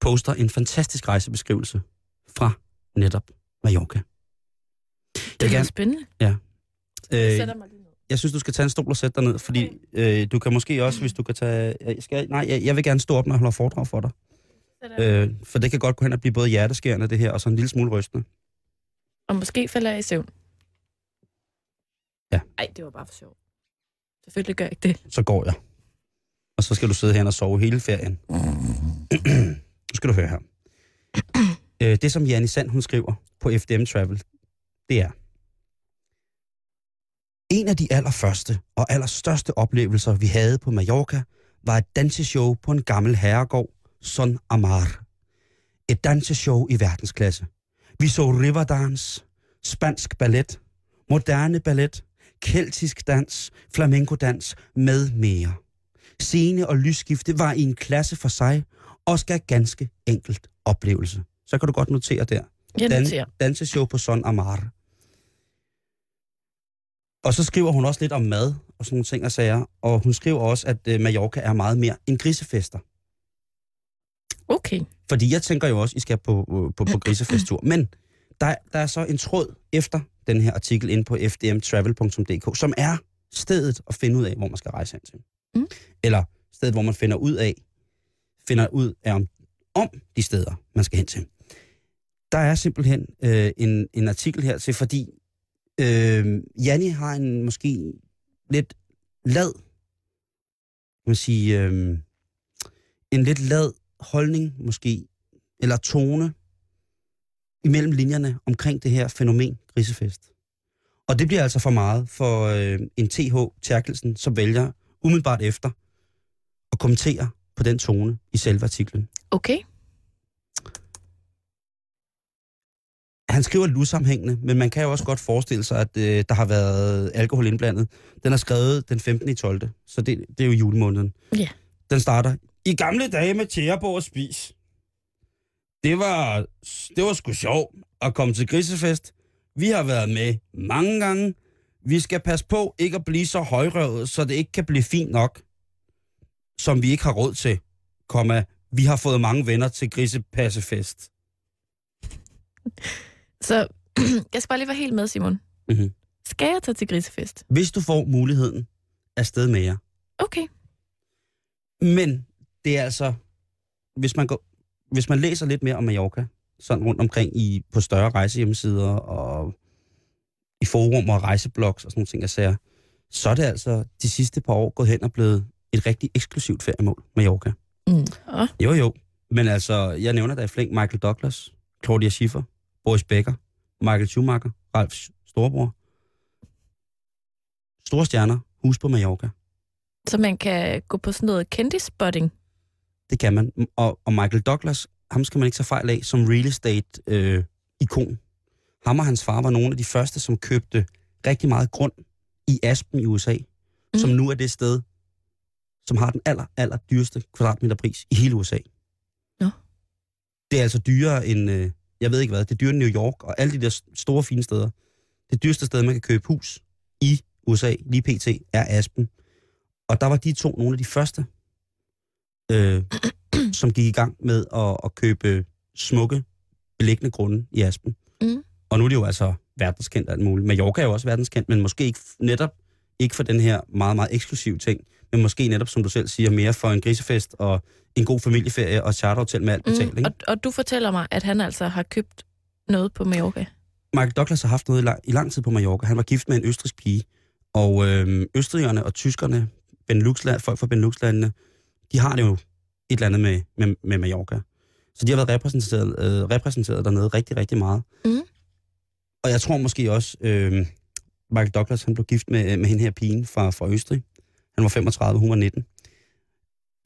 C: poster en fantastisk rejsebeskrivelse fra netop Mallorca.
B: Det er
C: kan-
B: spændende. mig
C: Øh,
B: lige ned.
C: jeg synes, du skal tage en stol og sætte dig ned, fordi øh, du kan måske også, hvis du kan tage... Jeg skal, nej, jeg, jeg vil gerne stå op, når jeg holder foredrag for dig. Øh, for det kan godt gå hen og blive både hjerteskærende, det her, og så en lille smule rystende.
B: Øh, Og måske falder jeg i søvn.
C: Ja.
B: Nej, det var bare for sjov. Selvfølgelig gør jeg ikke det.
C: Så går jeg. Og så skal du sidde her og sove hele ferien. nu skal du høre her. øh, det, som Janne Sand, hun skriver på FDM Travel, det er... En af de allerførste og allerstørste oplevelser, vi havde på Mallorca, var et danseshow på en gammel herregård, Son Amar. Et danseshow i verdensklasse. Vi så riverdance, spansk ballet, moderne ballet, keltisk dans, flamenco-dans med mere. Scene og lysskifte var i en klasse for sig, og skal ganske enkelt oplevelse. Så kan du godt notere der.
B: Jeg
C: Dan-
B: noterer.
C: danseshow på Son Amar. Og så skriver hun også lidt om mad og sådan nogle ting og sager. Og hun skriver også, at øh, Mallorca er meget mere end grisefester.
B: Okay.
C: Fordi jeg tænker jo også, I skal på, øh, på, på grisefesttur. Men der, der er så en tråd efter den her artikel inde på fdmtravel.dk, som er stedet at finde ud af, hvor man skal rejse hen til.
B: Mm.
C: Eller stedet, hvor man finder ud af, finder ud af om, om de steder, man skal hen til. Der er simpelthen øh, en, en artikel her til, fordi øh, Janni har en måske lidt lad, kan man sige, øh, en lidt lad holdning måske, eller tone imellem linjerne omkring det her fænomen grisefest. Og det bliver altså for meget for øh, en TH Terkelsen, som vælger umiddelbart efter at kommentere på den tone i selve artiklen.
B: Okay.
C: han skriver lusammenhængende, men man kan jo også godt forestille sig, at øh, der har været alkohol indblandet. Den er skrevet den 15. i 12. Så det, det er jo julemåneden.
B: Ja.
C: Den starter, i gamle dage med tjæreborg og spis. Det var, det var sgu sjovt at komme til grisefest. Vi har været med mange gange. Vi skal passe på ikke at blive så højrøvet, så det ikke kan blive fint nok, som vi ikke har råd til. Komma, vi har fået mange venner til grisepassefest.
B: Så jeg skal bare lige være helt med, Simon.
C: Mhm.
B: Skal jeg tage til grisefest?
C: Hvis du får muligheden, er sted med jer.
B: Okay.
C: Men det er altså, hvis man, går, hvis man læser lidt mere om Mallorca, sådan rundt omkring i, på større rejsehjemmesider og i forum og rejseblogs og sådan nogle ting, jeg ser, så er det altså de sidste par år gået hen og blevet et rigtig eksklusivt feriemål, Mallorca.
B: Mm. Og,
C: Jo, jo. Men altså, jeg nævner da i flæng Michael Douglas, Claudia Schiffer, Boris Becker, Michael Schumacher, Ralfs storebror. Store stjerner, hus på Mallorca.
B: så man kan gå på sådan noget kendispotting.
C: Det kan man. Og, og Michael Douglas, ham skal man ikke tage fejl af som real estate-ikon. Øh, ikon. ham og hans far var nogle af de første, som købte rigtig meget grund i Aspen i USA, mm. som
B: Mhm.
C: nu er det sted, som har den aller, aller dyreste kvadratmeterpris i hele USA.
B: Nå.
C: Det er altså dyrere end, øh, jeg ved ikke hvad, det er dyrere end New York og alle de der s- store fine steder. Det dyreste sted, man kan købe hus i USA, lige pt., er Aspen. Og der var de to nogle af de første, øh, som gik i gang med at, at købe smukke, beliggende grunde i Aspen.
B: Mm.
C: Og nu er det jo altså verdenskendt og alt muligt. Mallorca er jo også verdenskendt, men måske ikke f- netop ikke for den her meget, meget eksklusive ting, men måske netop, som du selv siger, mere for en grisefest og en god familieferie og et charterhotel med alt betalt. Mm.
B: og, og du fortæller mig, at han altså har købt noget på Mallorca.
C: Michael Douglas har haft noget i lang, i lang tid på Mallorca. Han var gift med en østrisk pige, og øh, østrigerne og tyskerne, Beneluxland, folk fra Beneluxlandene, de har det jo et eller andet med, med, med Mallorca. Så de har været repræsenteret, øh, repræsenteret dernede rigtig, rigtig meget.
B: Mhm.
C: Og jeg tror måske også, øh, Michael Douglas han blev gift med, med hende her pigen fra, fra Østrig. Han var 35, hun var 19.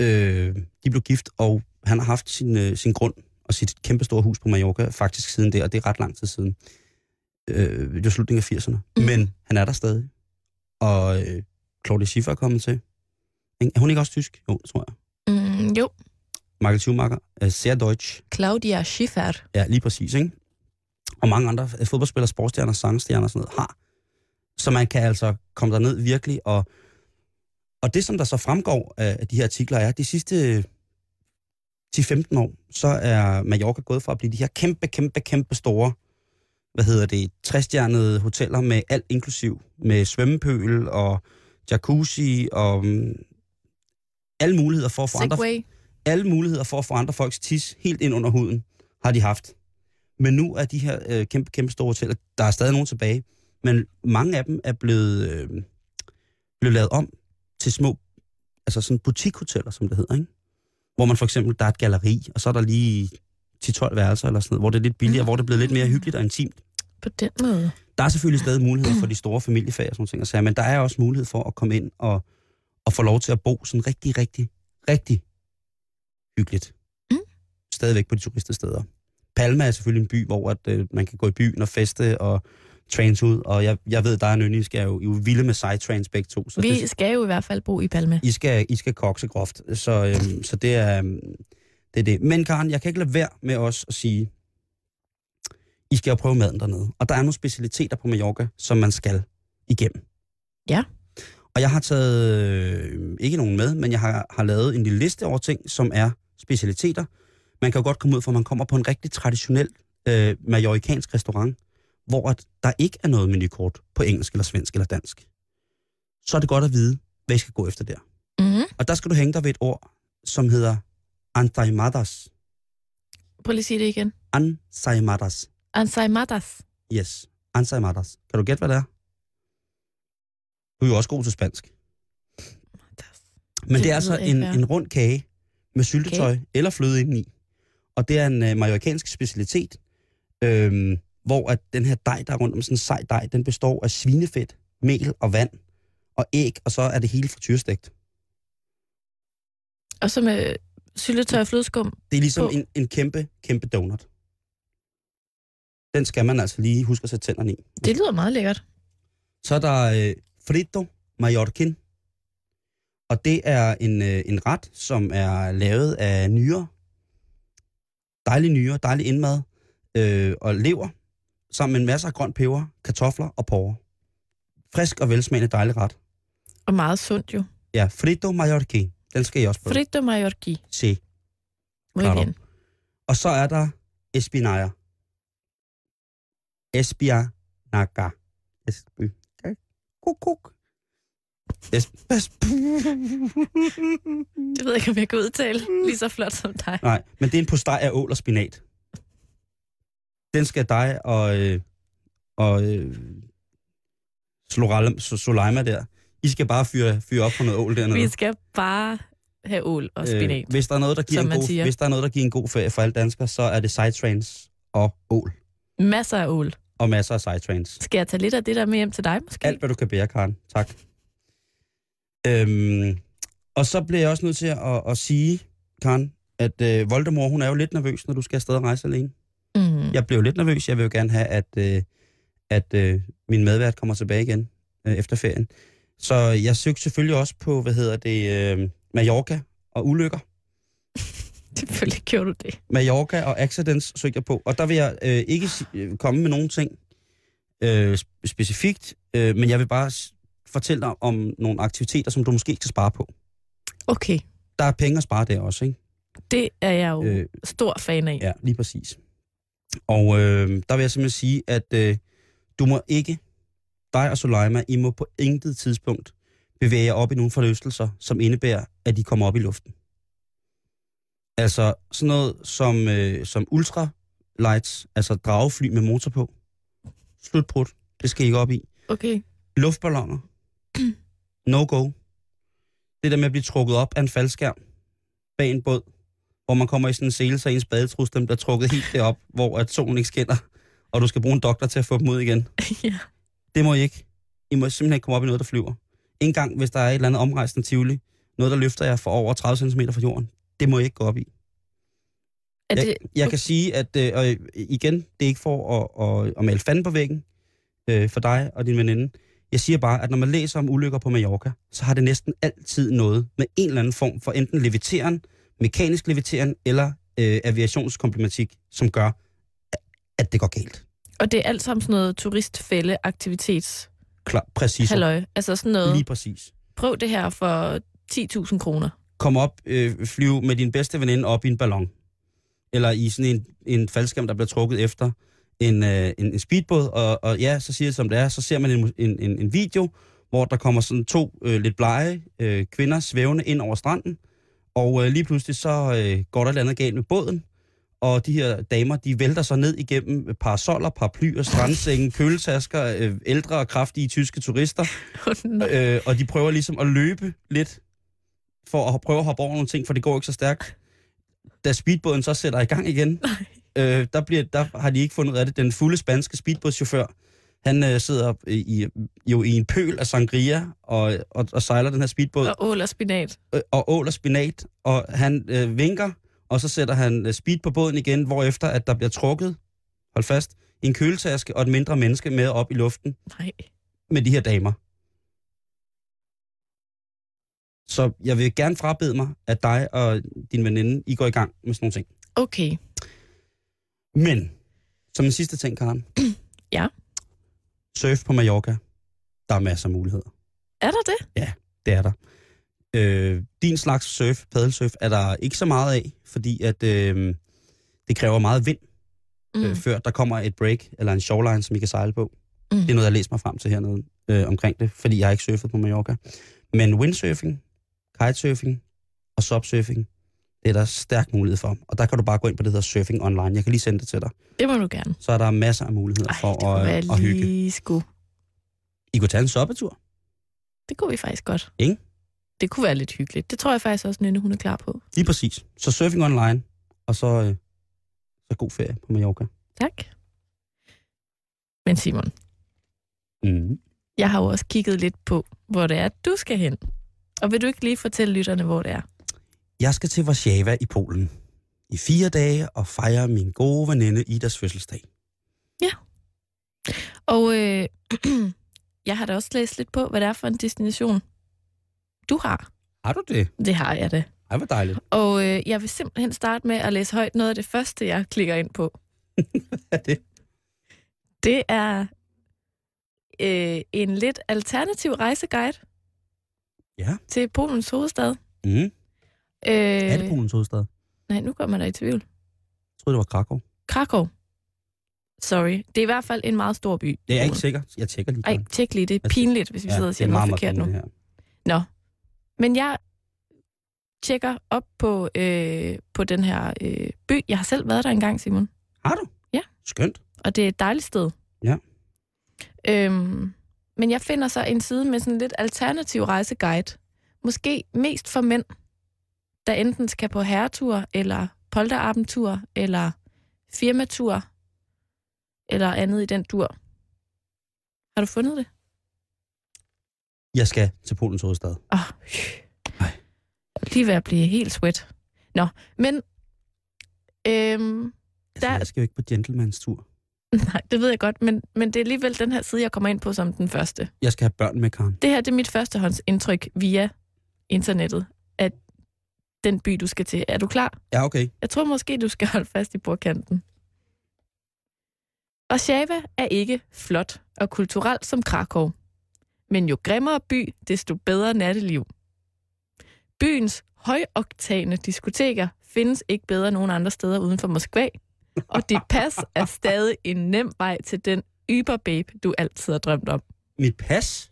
C: Øh, de blev gift, og han har haft sin, øh, sin grund og sit kæmpestore hus på Mallorca faktisk siden det, og det er ret lang tid siden øh, det var slutningen af 80'erne.
B: Mhm.
C: Mm. Men han er der stadig. Og øh, Claudia Schiffer er kommet til. Ikke? Er hun ikke også tysk? Jo, det tror jeg.
B: Mm, jo,
C: Michael Schumacher er sehr deutsch.
B: Claudia Schiffer.
C: Ja, lige præcis, ikke? Og mange andre øh, fodboldspillere, sportsstjerner, sangstjerner og sådan noget har. Så man kan altså komme derned virkelig. Og, og det, som der så fremgår af af de her artikler, er, at de sidste øh, 10-15 år, så er Mallorca gået fra at blive de her kæmpe, kæmpe, kæmpe store hvad hedder det, træstjernede hoteller med alt inklusiv, med svømmepøl og jacuzzi og mm, alle muligheder for at få andre
B: Segway.
C: alle muligheder for at forandre folks tis helt ind under huden, har de haft. Men nu er de her øh, kæmpe, kæmpe store hoteller, der er stadig nogen tilbage, men mange af dem er blevet, øh, blevet lavet om til små, altså sådan butikhoteller, som det hedder, ikke? Hvor man for eksempel, der er et galeri, og så er der lige 10-12 værelser eller sådan noget, hvor det er lidt billigere, hvor det er blevet lidt mere hyggeligt og intimt.
B: På den måde.
C: Der er selvfølgelig stadig mulighed for de store familiefag og sådan nogle ting, og sager, men der er også mulighed for at komme ind og, og få lov til at bo sådan rigtig, rigtig, rigtig hyggeligt.
B: Mm.
C: Stadigvæk på de turistesteder. Palma er selvfølgelig en by, hvor at, øh, man kan gå i byen og feste og trains ud, og jeg, jeg ved, der er en yndling, I skal jo, I er jo vilde med sejtrains begge to, så
B: Vi
C: det,
B: skal jo i hvert fald bo i Palma.
C: I, skal, I skal kokse groft, så, øhm, så det, er, øhm, det er det. Men Karen, jeg kan ikke lade være med os at sige, i skal jo prøve maden dernede. Og der er nogle specialiteter på Mallorca, som man skal igennem.
B: Ja.
C: Og jeg har taget, øh, ikke nogen med, men jeg har, har lavet en lille liste over ting, som er specialiteter. Man kan jo godt komme ud, for man kommer på en rigtig traditionel øh, majorikansk restaurant, hvor at der ikke er noget menukort på engelsk eller svensk eller dansk. Så er det godt at vide, hvad I skal gå efter der.
B: Mm.
C: Og der skal du hænge dig ved et ord, som hedder antaimadas.
B: Prøv lige at sige det igen.
C: Ansaimadas.
B: Ansaimadas.
C: Yes. Ansaimadas. Kan du gætte, hvad det er? Du er jo også god til spansk. Men det,
B: Det
C: er altså
B: ved jeg ikke,
C: en,
B: hvad er.
C: en rund kage med syltetøj okay. eller fløde indeni. Og det er en øh, majorikansk specialitet, øhm, hvor at den her dej, der er rundt om sådan en sej dej, den består af svinefedt, mel og vand og æg, og så er det hele frityrestegt.
B: Og så med syltetøj og flødeskum.
C: Det er ligesom
B: på.
C: en, en kæmpe, kæmpe donut. Den skal man altså lige huske at sætte tænderne i.
B: Det lyder meget lækkert.
C: Så er der øh, frito mallorquin. Og det er en, øh, en ret, som er lavet af nyre. Dejlig nyre, dejlig indmad. Øh, og lever, sammen med en masse af grønt peber, kartofler og porre. Frisk og velsmagende dejlig ret.
B: Og meget sundt jo.
C: Ja, frito mallorquin. Den skal jeg også prøve.
B: Frito Mallorca.
C: Se.
B: Muy
C: Claro.
B: bien.
C: Og så er der Espinaja. Espinaga. Espinaga. mm. Kuk, kuk. Es- es-
B: Det ved jeg ikke, om jeg kan udtale lige så flot som dig.
C: Nej, men det er en postej af ål og spinat. Den skal dig og, øh, og øh, Slorale- So- Soleima der, I skal bare fyre, fyre op på noget ål dernede.
B: Vi skal bare have ål
C: Øh,
B: og spinat.
C: hvis, der er noget, der giver
B: som
C: en
B: man
C: god,
B: siger.
C: hvis der er noget, der giver en god ferie for alle danskere, så er det sidetrains og ål.
B: Øh. Masser af ål.
C: Og masser af sidetrains.
B: Skal jeg tage lidt af det der med hjem til dig måske?
C: Alt, hvad du kan bære, Karen. Tak. Øhm, og så bliver jeg også nødt til at, at sige, Karen, at øh, Voldemort, hun er jo lidt nervøs, når du skal afsted og rejse alene.
B: Mm.
C: Jeg blev jo lidt nervøs. Jeg vil jo gerne have, at, øh, at øh, min medvært kommer tilbage igen øh, efter ferien. Så jeg søgte selvfølgelig også på, hvad hedder det, øh, Mallorca og ulykker.
B: Selvfølgelig gjorde du det.
C: Mallorca og Accidents søgte jeg på. Og der vil jeg øh, ikke si- øh, komme med nogen ting øh, sp- specifikt, øh, men jeg vil bare s- fortælle dig om nogle aktiviteter, som du måske kan spare på.
B: Okay,
C: Der er penge at spare der også, ikke?
B: det er jeg jo øh.
C: Øh.
B: stor fan af. Ja.
C: Ja, lige præcis. Og øh, der vil jeg simpelthen sige, at øh, du må ikke, dig og Soleima, I må på intet tidspunkt bevæge jer op i nogle forlystelser, som indebærer, at de kommer op i luften. Altså sådan noget som, øh, som ultralights, altså dragefly med motor på. Slutbrud, det skal I ikke op i.
B: Okay.
C: Luftballoner. No go. Det der med at blive trukket op af en faldskærm bag en båd, hvor man kommer i sådan en sele, så ens badetrus, dem bliver trukket helt derop, hvor at solen ikke skinner, og du skal bruge en doktor til at få dem ud igen.
B: ja.
C: Det må I ikke. I må simpelthen ikke komme op i noget, der flyver. En gang, hvis der er et eller andet omrejsende tivoli, noget, der løfter jer for over 30 cm fra jorden, det må I ikke gå op i.
B: Er det,
C: Jeg, jeg kan sige, at øh, og igen, det er ikke for at, at, at male fanden på væggen øh, for dig og din veninde. Jeg siger bare, at når man læser om ulykker på Mallorca, så har det næsten altid noget med en eller anden form for enten leviteren, mekanisk leviteren eller øh, aviationskomplematik, som gør, at- at det går galt.
B: og det er alt sammen sådan noget turistfælde-aktivitets
C: Klar, præcis.
B: halløj. Altså sådan noget,
C: Lige præcis.
B: prøv det her for 10.000 kroner.
C: Kom op, øh, flyv med din bedste veninde op i en ballon. Eller i sådan en, en faldskærm, der bliver trukket efter en, øh, en, en speedbåd. Og, og ja, så siger det som det er, så ser man en, en, en, en video, hvor der kommer sådan to øh, lidt blege øh, kvinder svævende ind over stranden. Og øh, lige pludselig så øh, går der et eller andet galt med båden. Og de her damer, de vælter sig ned igennem parasoller, paraplyer, strandsenge, køletasker, øh, ældre og kraftige tyske turister øh, og de prøver ligesom at løbe lidt, for at prøve at hoppe over nogle ting, for det går ikke så stærkt. Da speedbåden så sætter i gang igen, øh, der, bliver, der har de ikke fundet ud af det. Den fulde spanske speedbådschauffør, han øh, sidder øh, i, jo i en pøl af sangria og, og, og sejler den her speedbåd
B: og ål og spinat.
C: øh, og ål og spinat, og han øh, vinker, og så sætter han øh, speed på båden igen, hvorefter at der bliver trukket, hold fast, en køletaske og et mindre menneske med op i luften
B: Nej.
C: med de her damer. Så jeg vil gerne frabede mig, at dig og din veninde, I går i gang med sådan nogle ting.
B: Okay.
C: Men, som en sidste ting, Karen.
B: Ja.
C: Surf på Mallorca. Der er masser af muligheder.
B: Er der det?
C: Det er der. Øh, din slags surf, paddelsurf, er der ikke så meget af, fordi at øh, det kræver meget vind, mm. øh, før der kommer et break eller en shoreline, som I kan sejle på.
B: Mm.
C: Det er noget, jeg læser mig frem til hernede øh, omkring det, fordi jeg har ikke surfet på Mallorca. Men windsurfing, kitesurfing og subsurfing, det er der stærk mulighed for. Og der kan du bare gå ind på det, der hedder Surfing Online. Jeg kan lige sende det til dig.
B: Det må du gerne.
C: Så er der masser af muligheder
B: Ej,
C: for
B: det kunne
C: at,
B: være
C: at hygge.
B: lige skulle.
C: I kunne tage en soppetur.
B: Det kunne vi faktisk godt.
C: Ikke?
B: Det kunne være lidt hyggeligt. Det tror jeg faktisk også, Nynne, hun er klar på.
C: Lige præcis. Så Surfing Online, og så, øh, så god ferie på Mallorca.
B: Tak. Men Simon,
C: Mm.
B: jeg har jo også kigget lidt på, hvor det er, du skal hen. Og vil du ikke lige fortælle lytterne, hvor det er?
C: Jeg skal til Warszawa i Polen i fire dage og fejre min gode veninde Idas fødselsdag.
B: Og øh, jeg har da også læst lidt på, hvad det er for en destination, du har.
C: Har du det?
B: Det har jeg da.
C: Ej, hvor dejligt.
B: Og øh, jeg vil simpelthen starte med at læse højt noget af det første, jeg klikker ind på.
C: Er det?
B: Det er øh, en lidt alternativ rejseguide
C: Ja.
B: til Polens hovedstad.
C: Mm.
B: Øh,
C: Er det Polens hovedstad?
B: Nej, nu går man da i tvivl.
C: Jeg troede, det var Krakow.
B: Krakow. Sorry. Det er i hvert fald en meget stor by.
C: Det er jeg ikke sikker. Jeg tjekker lige.
B: Ej,
C: Karen.
B: tjek lige. Det er
C: Jeg-
B: pinligt, hvis vi sidder og siger noget forkert nu.
C: pinligt, det her.
B: Men jeg tjekker op på, øh, på den her øh, by. Jeg har selv været der engang, Simon.
C: Har du?
B: Ja.
C: Skønt.
B: Og det er et dejligt sted.
C: Ja.
B: Øhm, men jeg finder så en side med sådan lidt alternativ rejseguide. Måske mest for mænd, der enten skal på herretur, eller polterabentur, eller firmatur, eller andet i den dur. Har du fundet det?
C: Jeg skal til Polens hovedstad.
B: Åh, oh,
C: Ej.
B: Lige ved at blive helt sweat. Nå, men... Øhm,
C: Altså,
B: Der-
C: Jeg skal jo ikke på gentlemans tur.
B: nej, det ved jeg godt, men, men det er alligevel den her side, jeg kommer ind på som den første.
C: Jeg skal have børn med, Karen.
B: Det her det er mit førstehåndsindtryk via internettet af den by, du skal til. Er du klar?
C: Ja, okay.
B: Jeg tror måske, du skal holde fast i bordkanten. Warszawa er ikke flot og kulturelt som Krakow. Men jo grimmere by, desto bedre natteliv. Byens højoktane diskoteker findes ikke bedre nogen andre steder uden for Moskva, og dit pas er stadig en nem vej til den yberbabe, du altid har drømt om.
C: Mit pas?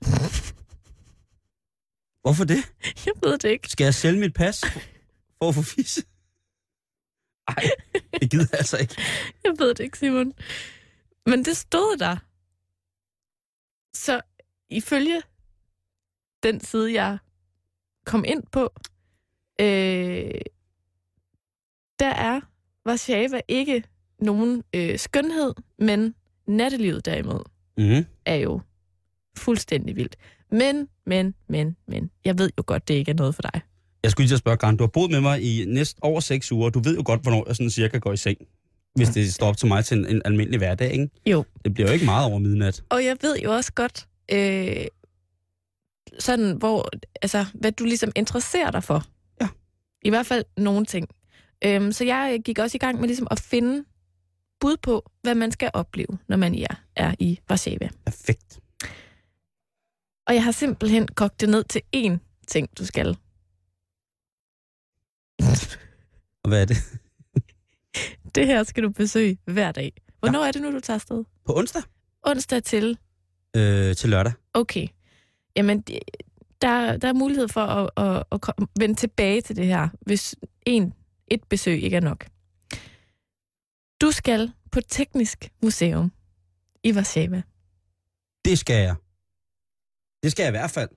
C: Hvorfor det?
B: Jeg ved det ikke.
C: Skal jeg sælge mit pas for at få fisse? Ej, det gider jeg altså ikke.
B: Jeg ved det ikke, Simon. Men det stod der. Så ifølge den side, jeg kom ind på, øh, der er Warszawa ikke nogen øh, skønhed, men nattelivet derimod
C: Mm.
B: er jo fuldstændig vildt. Men, men, men, men. Jeg ved jo godt, det ikke er noget for dig.
C: Jeg skulle lige til at spørge, Karen, du har boet med mig i næsten over seks uger. Du ved jo godt, hvornår jeg sådan cirka går i seng. Hvis det står op til mig til en, en almindelig hverdag, ikke?
B: Jo.
C: Det bliver jo ikke meget over midnat.
B: Og jeg ved jo også godt, øh, sådan hvor, altså, hvad du ligesom interesserer dig for.
C: Ja.
B: I hvert fald nogle ting. Øhm, så jeg øh, gik også i gang med ligesom at finde bud på, hvad man skal opleve, når man er, er i Warszawa.
C: Perfekt.
B: Og jeg har simpelthen kogt det ned til én ting, du skal.
C: Og hvad er det?
B: Det her skal du besøge hver dag. Hvornår er det nu, du tager afsted?
C: På onsdag?
B: Onsdag til
C: Øh, til lørdag.
B: Okay. Jamen, det- der, der er mulighed for at, at, at komme, vende tilbage til det her, hvis en, et besøg ikke er nok. Du skal på Teknisk Museum i Warszawa.
C: Det skal jeg. Det skal jeg i hvert fald.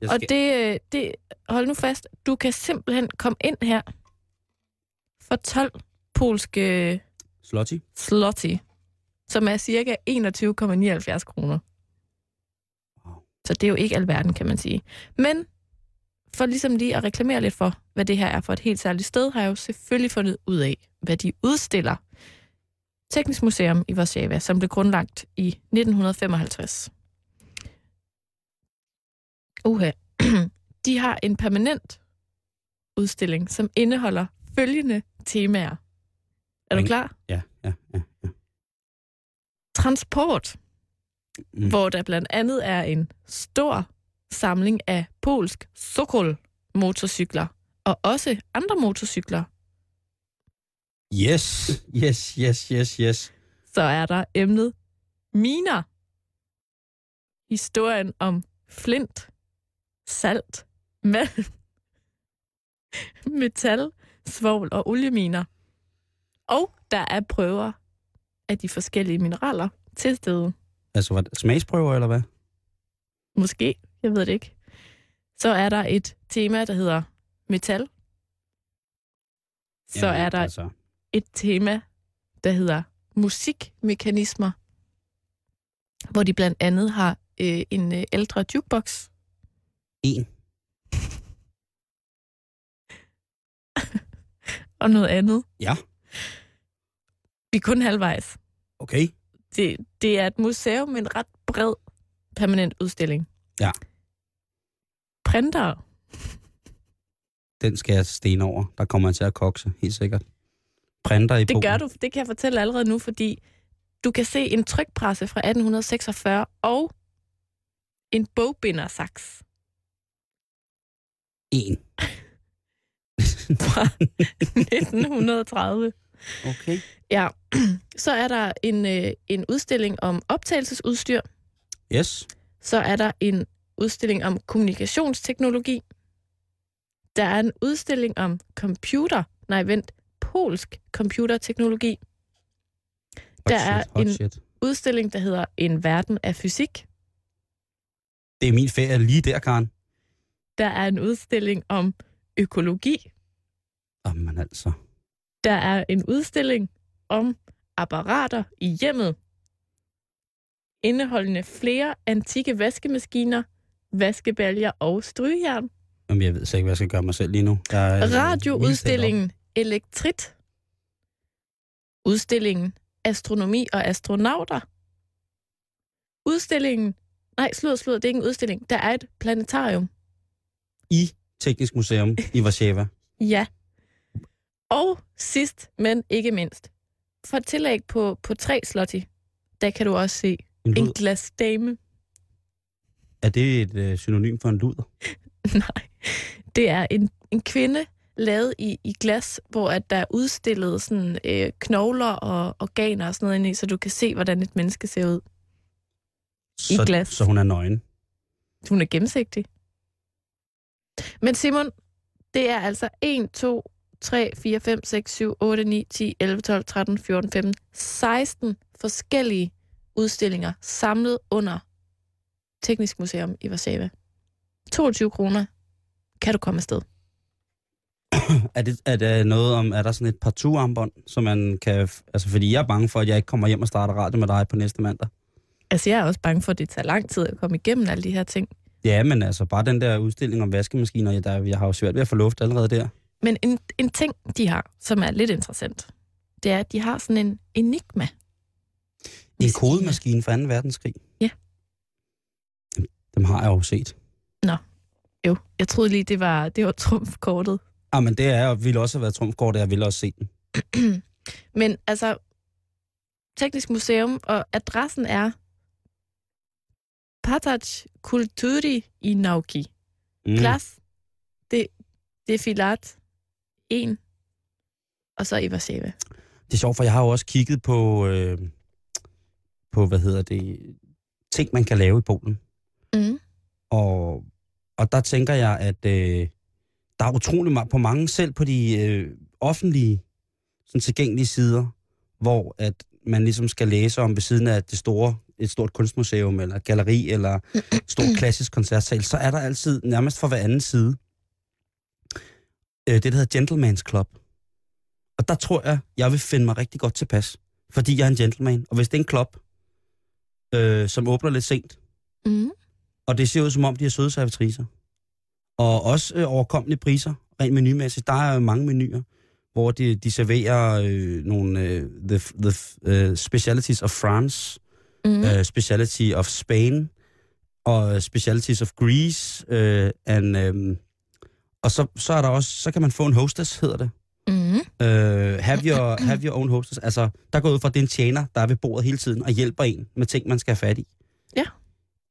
C: Jeg
B: Og
C: skal...
B: det, øh, det, hold nu fast, du kan simpelthen komme ind her for 12 polske
C: Slotty.
B: slotti, som er cirka 21,79 kroner.
C: Wow.
B: Så det er jo ikke alverden, kan man sige. Men for ligesom lige at reklamere lidt for, hvad det her er for et helt særligt sted, har jeg jo selvfølgelig fundet ud af, hvad de udstiller. Teknisk Museum i Warszawa, som blev grundlagt i 1955. Uha. De har en permanent udstilling, som indeholder følgende temaer. Er du
C: Men-
B: klar?
C: Ja, ja, ja.
B: transport,
C: Mm.
B: mm. hvor der blandt andet er en stor samling af polsk Sokol motorcykler og også andre motorcykler.
C: Yes, yes, yes, yes, yes.
B: Så er der emnet miner. Historien om flint, salt, malm, metal, svovl og olieminer. Og der er prøver af de forskellige mineraler til stede.
C: Altså, var det smagsprøver, eller hvad?
B: Måske, jeg ved det ikke. Så er der et tema, der hedder metal. Så
C: Jamen,
B: er der
C: Altså,
B: et tema, der hedder musikmekanismer, hvor de blandt andet har øh, en øh, ældre jukebox.
C: en.
B: og noget andet.
C: Ja.
B: Vi er kun halvvejs.
C: Okay.
B: det, det er et museum med en ret bred permanent udstilling.
C: Ja.
B: Printer.
C: Den skal jeg sten over. Der kommer jeg til at kokse, helt sikkert. Printer i
B: Det gør du, det kan jeg fortælle allerede nu, fordi du kan se en trykpresse fra 1846 og en bogbindersaks
C: En.
B: fra 1930.
C: Okay.
B: Ja, så er der en, øh, en udstilling om optagelsesudstyr,
C: Yes.
B: så er der en udstilling om kommunikationsteknologi, der er en udstilling om computer, nej vent, polsk computerteknologi,
C: Hot
B: Der
C: shit,
B: er
C: hot
B: en-
C: shit.
B: udstilling, der hedder En verden af fysik,
C: Det er min ferie lige der, Karen.
B: der er en udstilling om økologi,
C: Jamen altså.
B: der er en udstilling om apparater i hjemmet, indeholdende flere antikke vaskemaskiner, vaskebælger og strygejern.
C: Jamen, jeg ved så ikke, hvad jeg skal gøre mig selv lige nu. Der er øh, mildtalt
B: Radioudstillingen Elektrit, udstillingen Astronomi og astronauter, udstillingen Nej, slud, slud, det er ikke en udstilling. Der er et planetarium.
C: op. I Teknisk Museum i Warszawa.
B: Ja. Og sidst, men ikke mindst, for et tillæg på, på tre slotti, der kan du også se
C: En
B: en
C: lud.
B: glasdame.
C: Er det et øh, synonym for en luder?
B: Nej, det er en, en kvinde lavet i, i glas, hvor at der er udstillet sådan, øh, knogler og organer og sådan noget inde i, så du kan se, hvordan et menneske ser ud.
C: Så,
B: glas.
C: Så hun er nøgen.
B: Hun er gennemsigtig. Men Simon, det er altså 1, 2, 3, 4, 5, 6, 7, 8, 9, 10, 11, 12, 13, 14, 15, 16 forskellige udstillinger samlet under Teknisk Museum i Warszawa. 22 kroner kan du komme afsted.
C: Er det, er det noget om, er der sådan et partout-armbånd, som man kan... f- Altså, fordi jeg er bange for, at jeg ikke kommer hjem og starter radio med dig på næste mandag.
B: Altså, jeg er også bange for, at det tager lang tid at komme igennem alle de her ting.
C: Ja, men altså, bare den der udstilling om vaskemaskiner, ja, der, jeg har jo svært ved at få luft allerede der.
B: Men en, en ting, de har, som er lidt interessant, det er, at de har sådan en enigma.
C: En kodemaskine fra 2. verdenskrig.
B: Ja.
C: Dem- Dem har jeg jo set.
B: Jo, jeg troede lige, det var, det var trumfkortet.
C: Ah, men det er, ville også have været trumfkort, og jeg ville også se den.
B: Men altså, Teknisk Museum, og adressen er Pataj Kulturi i Nauki. Mm. Plads det, det filat 1, og så i Varsava.
C: Det er sjovt, for jeg har jo også kigget på, øh, på hvad hedder det, ting, man kan lave i Polen.
B: Mm.
C: Og, og der tænker jeg, at øh, der er utrolig meget på mange, selv på de øh, offentlige sådan tilgængelige sider, hvor at man ligesom skal læse om ved siden af det store, et stort kunstmuseum, eller et galleri, eller et stort klassisk koncertsal, så er der altid, nærmest fra hver anden side, øh, det, der hedder Gentleman's Club. Og der tror jeg, jeg vil finde mig rigtig godt tilpas, fordi jeg er en gentleman. Og hvis det er en klub, øh, som åbner lidt sent,
B: Mm.
C: og det ser ud som om, de har søde servitriser. Og også øh, overkommelige priser, rent menumæssigt. Der er jo mange menuer, hvor de, de serverer øh, nogle øh, the, the, øh, specialities of France,
B: Mm.
C: mm. øh, speciality of Spain, og øh, specialities of Greece. Øh, and, øh, og så, så, er der også, så kan man få en hostess, hedder det.
B: Mm.
C: Øh, have, your, have your own hostess. Altså, der går ud fra, at det er en tjener, der er ved bordet hele tiden og hjælper en med ting, man skal have fat i.
B: Ja.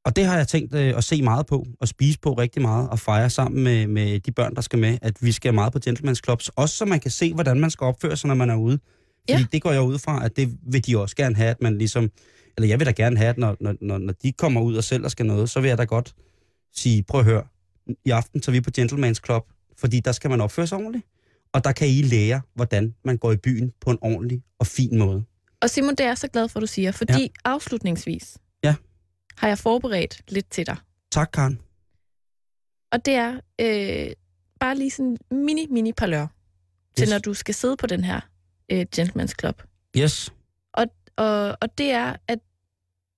C: Og det har jeg tænkt øh, at se meget på, og spise på rigtig meget, og fejre sammen med, med de børn, der skal med, at vi skal meget på gentleman's clubs. Også så man kan se, hvordan man skal opføre sig, når man er ude. Fordi
B: Ja.
C: det går jeg ud fra, at det vil de også gerne have, at man ligesom... Eller jeg vil da gerne have, at når, når, når, når de kommer ud og selv og skal noget, så vil jeg da godt sige, prøv at høre, i aften tager vi på Gentleman's Club, fordi der skal man opføre sig ordentligt. Og der kan I lære, hvordan man går i byen på en ordentlig og fin måde.
B: Og Simon, det er jeg så glad for, du siger, fordi ja. afslutningsvis
C: Ja.
B: har jeg forberedt lidt til dig.
C: Tak, Karen.
B: Og det er øh, bare lige sådan mini, mini parlør, til
C: Yes.
B: når du skal sidde på den her øh, Gentleman's Club.
C: Yes.
B: Og, og det er, at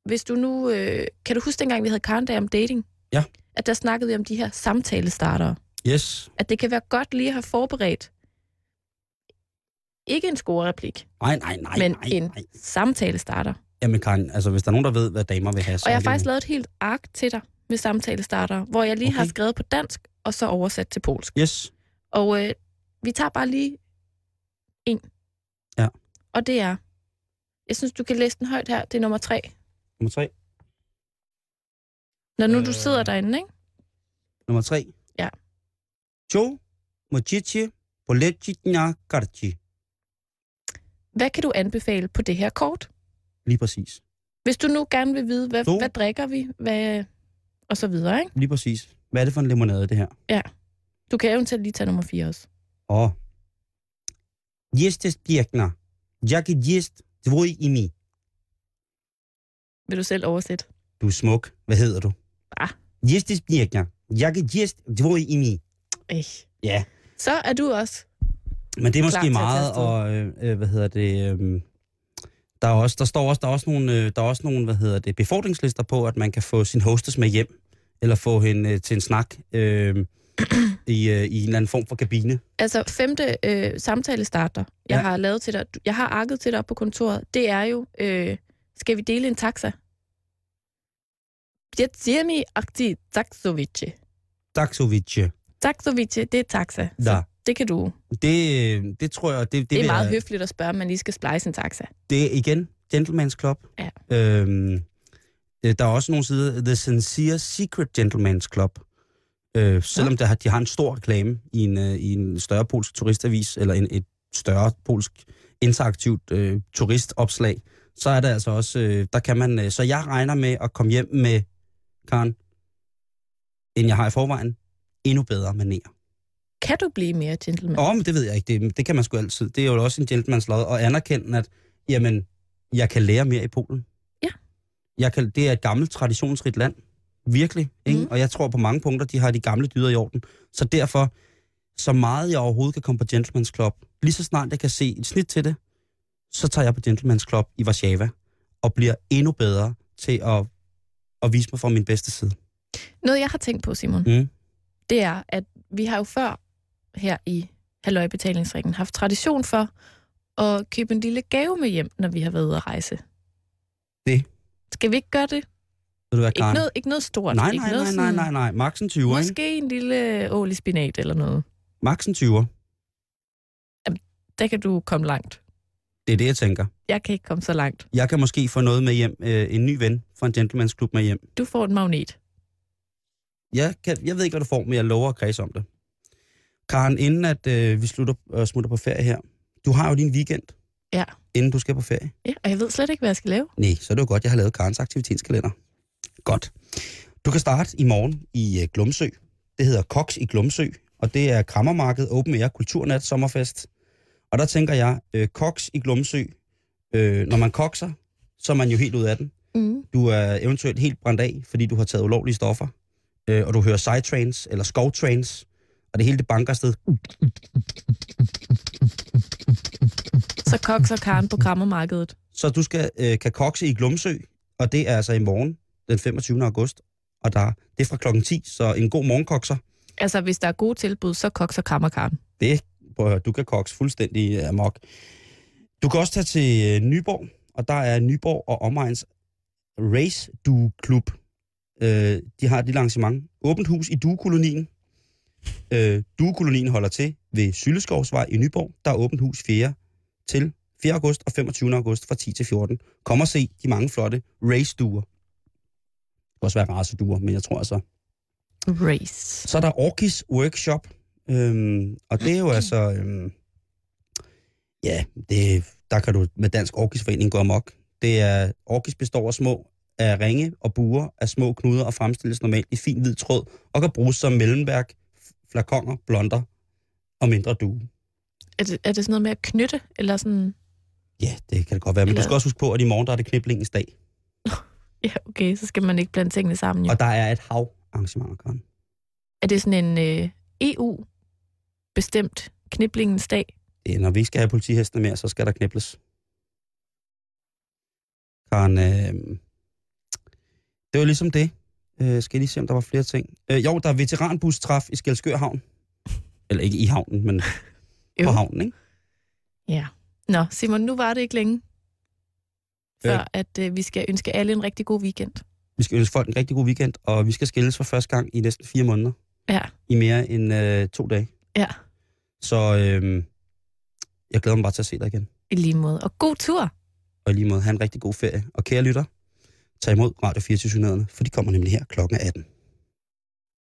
B: hvis du nu... Øh, kan du huske dengang, vi havde Karen Dag om dating?
C: Ja.
B: At der snakkede vi om de her samtalestartere.
C: Yes.
B: At det kan være godt lige at have forberedt ikke en scorereplik,
C: Nej, nej, nej.
B: men
C: nej,
B: en
C: nej.
B: samtalestarter.
C: Jamen Karen, altså hvis der er nogen, der ved, hvad damer vil have, så
B: Og jeg
C: er
B: har
C: det
B: faktisk
C: nu.
B: lavet et helt ark til dig med samtale starter, hvor jeg lige okay. har
C: Okay.
B: skrevet på dansk, og så oversat til polsk.
C: Yes,
B: Og øh, vi tager bare lige en.
C: Ja.
B: Og det er, jeg synes, du kan læse den højt her, det er nummer tre.
C: nummer tre.
B: Når nu øh.
C: Øh.
B: du sidder derinde, ikke?
C: Nummer tre.
B: Ja.
C: Cho, mochichi, polechitna, karchi.
B: Hvad kan du anbefale på det her kort?
C: Lige præcis.
B: Hvis du nu gerne vil vide, hvad,
C: Du.
B: hvad drikker vi, hvad, og så videre, ikke?
C: Lige præcis. Hvad er det for en limonade, det her?
B: Du kan eventuelt lige tage nummer 4 også.
C: Åh. Jestes birkner. Jeg er jest, tvoj i mi.
B: Vil du selv oversætte?
C: Du er smuk. Hvad hedder du?
B: Ah.
C: Jestes birkner. Jeg er jest, tvoj i mi.
B: Ej.
C: Ja.
B: Så er du også.
C: Men det er
B: Klar til
C: måske
B: at
C: meget,
B: tage
C: og øh, øh, hvad hedder det, øh, der, er også, der står også, der er også nogle, øh, der er også nogle hvad hedder det, befordringslister på, at man kan få sin hostess med hjem, eller få hende øh, til en snak øh, i, øh, i en eller anden form for kabine.
B: Altså femte øh, samtale starter, jeg
C: Ja.
B: ja. har lavet til dig. Du- Jeg har arket til dig op på kontoret. Det er jo, øh, skal vi dele en taxa? Bjetzjemi akti taxovici.
C: Daxovice,
B: Taxovici, det er taxa. Så
C: der.
B: Det kan du. Det,
C: Det, øh, det tror jeg, det, det,
B: det
C: vil
B: er meget
C: jeg,
B: høfligt at spørge, om man lige skal splice en taxa.
C: Det er igen Gentleman's Club.
B: Ja.
C: Øhm, øh, der er også nogle sider, The Sincere Secret Gentleman's Club. Øh, selvom der, har- de har en stor reklame i en, øh, i en større polsk turistavis, eller en, et større polsk interaktivt øh, turistopslag, så er der altså også, øh, der kan man, øh, så jeg regner med at komme hjem med, Karen, end jeg har i forvejen, endnu bedre manerer.
B: Kan du blive mere gentleman?
C: Åh, men det ved jeg ikke. Det, det kan man sgu altid. Det er jo også en gentleman's lod at anerkende, at jamen, jeg kan lære mere i Polen.
B: Ja.
C: Jeg kan, det er et gammelt, traditionsrigt land. Virkelig. Ikke?
B: Mhm.
C: Og jeg tror på mange punkter, de har de gamle dyder i orden. Så derfor, så meget jeg overhovedet kan komme på Gentleman's Club, lige så snart jeg kan se et snit til det, så tager jeg på Gentleman's Club i Warszawa og bliver endnu bedre til at, at vise mig fra min bedste side.
B: Noget, jeg har tænkt på, Simon,
C: Mm.
B: det er, at vi har jo før her i Halløjbetalingsringen haft tradition for at købe en lille gave med hjem, når vi har været ude at rejse.
C: Det.
B: Skal vi ikke gøre det?
C: Ved du hvad,
B: Ikke
C: Karen?
B: noget, ikke noget stort.
C: nej,
B: ikke
C: nej,
B: noget
C: nej, nej, nej, nej. Max en 20'er, ikke?
B: Måske en lille ål i spinat eller noget.
C: Max en 20'er.
B: Der kan du komme langt.
C: Det er det, jeg tænker.
B: Jeg kan ikke komme så langt.
C: Jeg kan måske få noget med hjem, øh, en ny ven fra en gentleman's klub med hjem.
B: Du får en magnet.
C: Jeg, kan, jeg ved ikke, hvad du får, men jeg lover at kredse om det. Karen, inden at øh, vi slutter og smutter på ferie her, du har jo din weekend.
B: Ja.
C: Inden du skal på ferie.
B: Ja, og jeg ved slet ikke, hvad jeg skal lave.
C: Nej, så er det jo godt, jeg har lavet Karens aktivitetskalender. Godt. Du kan starte i morgen i øh, Glumsø. Det hedder Koks i Glumsø, og det er Krammermarked Open Air Kulturnat Sommerfest. Og der tænker jeg, øh, Koks i Glumsø, øh, når man kokser, så er man jo helt ud af den.
B: Mm.
C: Du er eventuelt helt brændt af, fordi du har taget ulovlige stoffer, øh, og du hører sidetrains eller skovtrains, og det hele det banker afsted.
B: Så kokser Karen på krammermarkedet.
C: Så du skal, øh, kan kokse i Glumsø, og det er altså i morgen, den 25. august, og der, det er fra klokken 10, så en god morgenkokser,
B: Altså, hvis der er gode tilbud, så kokser krammer Karen.
C: Prøv at høre, du kan kokse fuldstændig øh, amok. Du kan også tage til øh, Nyborg, og der er Nyborg og Omegns Race Du Klub. Øh, de har et lille arrangement. Åbent hus i Duekolonien. Øh, Duekolonien holder til ved Sylleskovsvej i Nyborg. Der er åbent hus 4. til 4. august og 25. august fra 10 til 14. Kom og se de mange flotte race-duer. Det kan også være raceduer, men jeg tror altså,
B: Race.
C: så er der Orkis Workshop, øhm, og det er jo altså, øhm, ja, det, der kan du med Dansk Orkisforening gå amok. Det er, Orkis består af små af ringe og buer af små knuder og fremstilles normalt i fin hvid tråd og kan bruges som mellemværk, flakonger, blonder og mindre due.
B: Er det, er det sådan noget med at knytte, eller sådan...
C: Ja, det kan det godt være, men du
B: Eller-
C: skal også huske på, at i morgen der er det kniblingens dag,
B: Ja, okay, så skal man ikke blande tingene sammen. Jo.
C: og der er et hav arrangementer, Karen.
B: Er det sådan en øh, EU-bestemt kniblingens dag?
C: Det er, Øh, Når vi ikke skal have politihestene mere, så skal der knibles. Karen, øh, det var ligesom det. Øh, skal jeg lige se, om der var flere ting. Øh, jo, der er veteranbustræf i Skelskør Havn. Eller ikke i havnen, men
B: Jo.
C: på havnen, ikke?
B: Nå, Simon, nu var det ikke længe. før at øh, vi skal ønske alle en rigtig god weekend.
C: Vi skal ønske folk en rigtig god weekend, og vi skal skilles for første gang i næsten fire måneder.
B: Ja.
C: I mere end øh, to dage.
B: Ja.
C: Så øh, jeg glæder mig bare til at se dig igen.
B: I lige måde. Og god tur!
C: Og i lige måde, have en rigtig god ferie. Og kære lytter, tag imod Radio 24 for de kommer nemlig her klokken 18.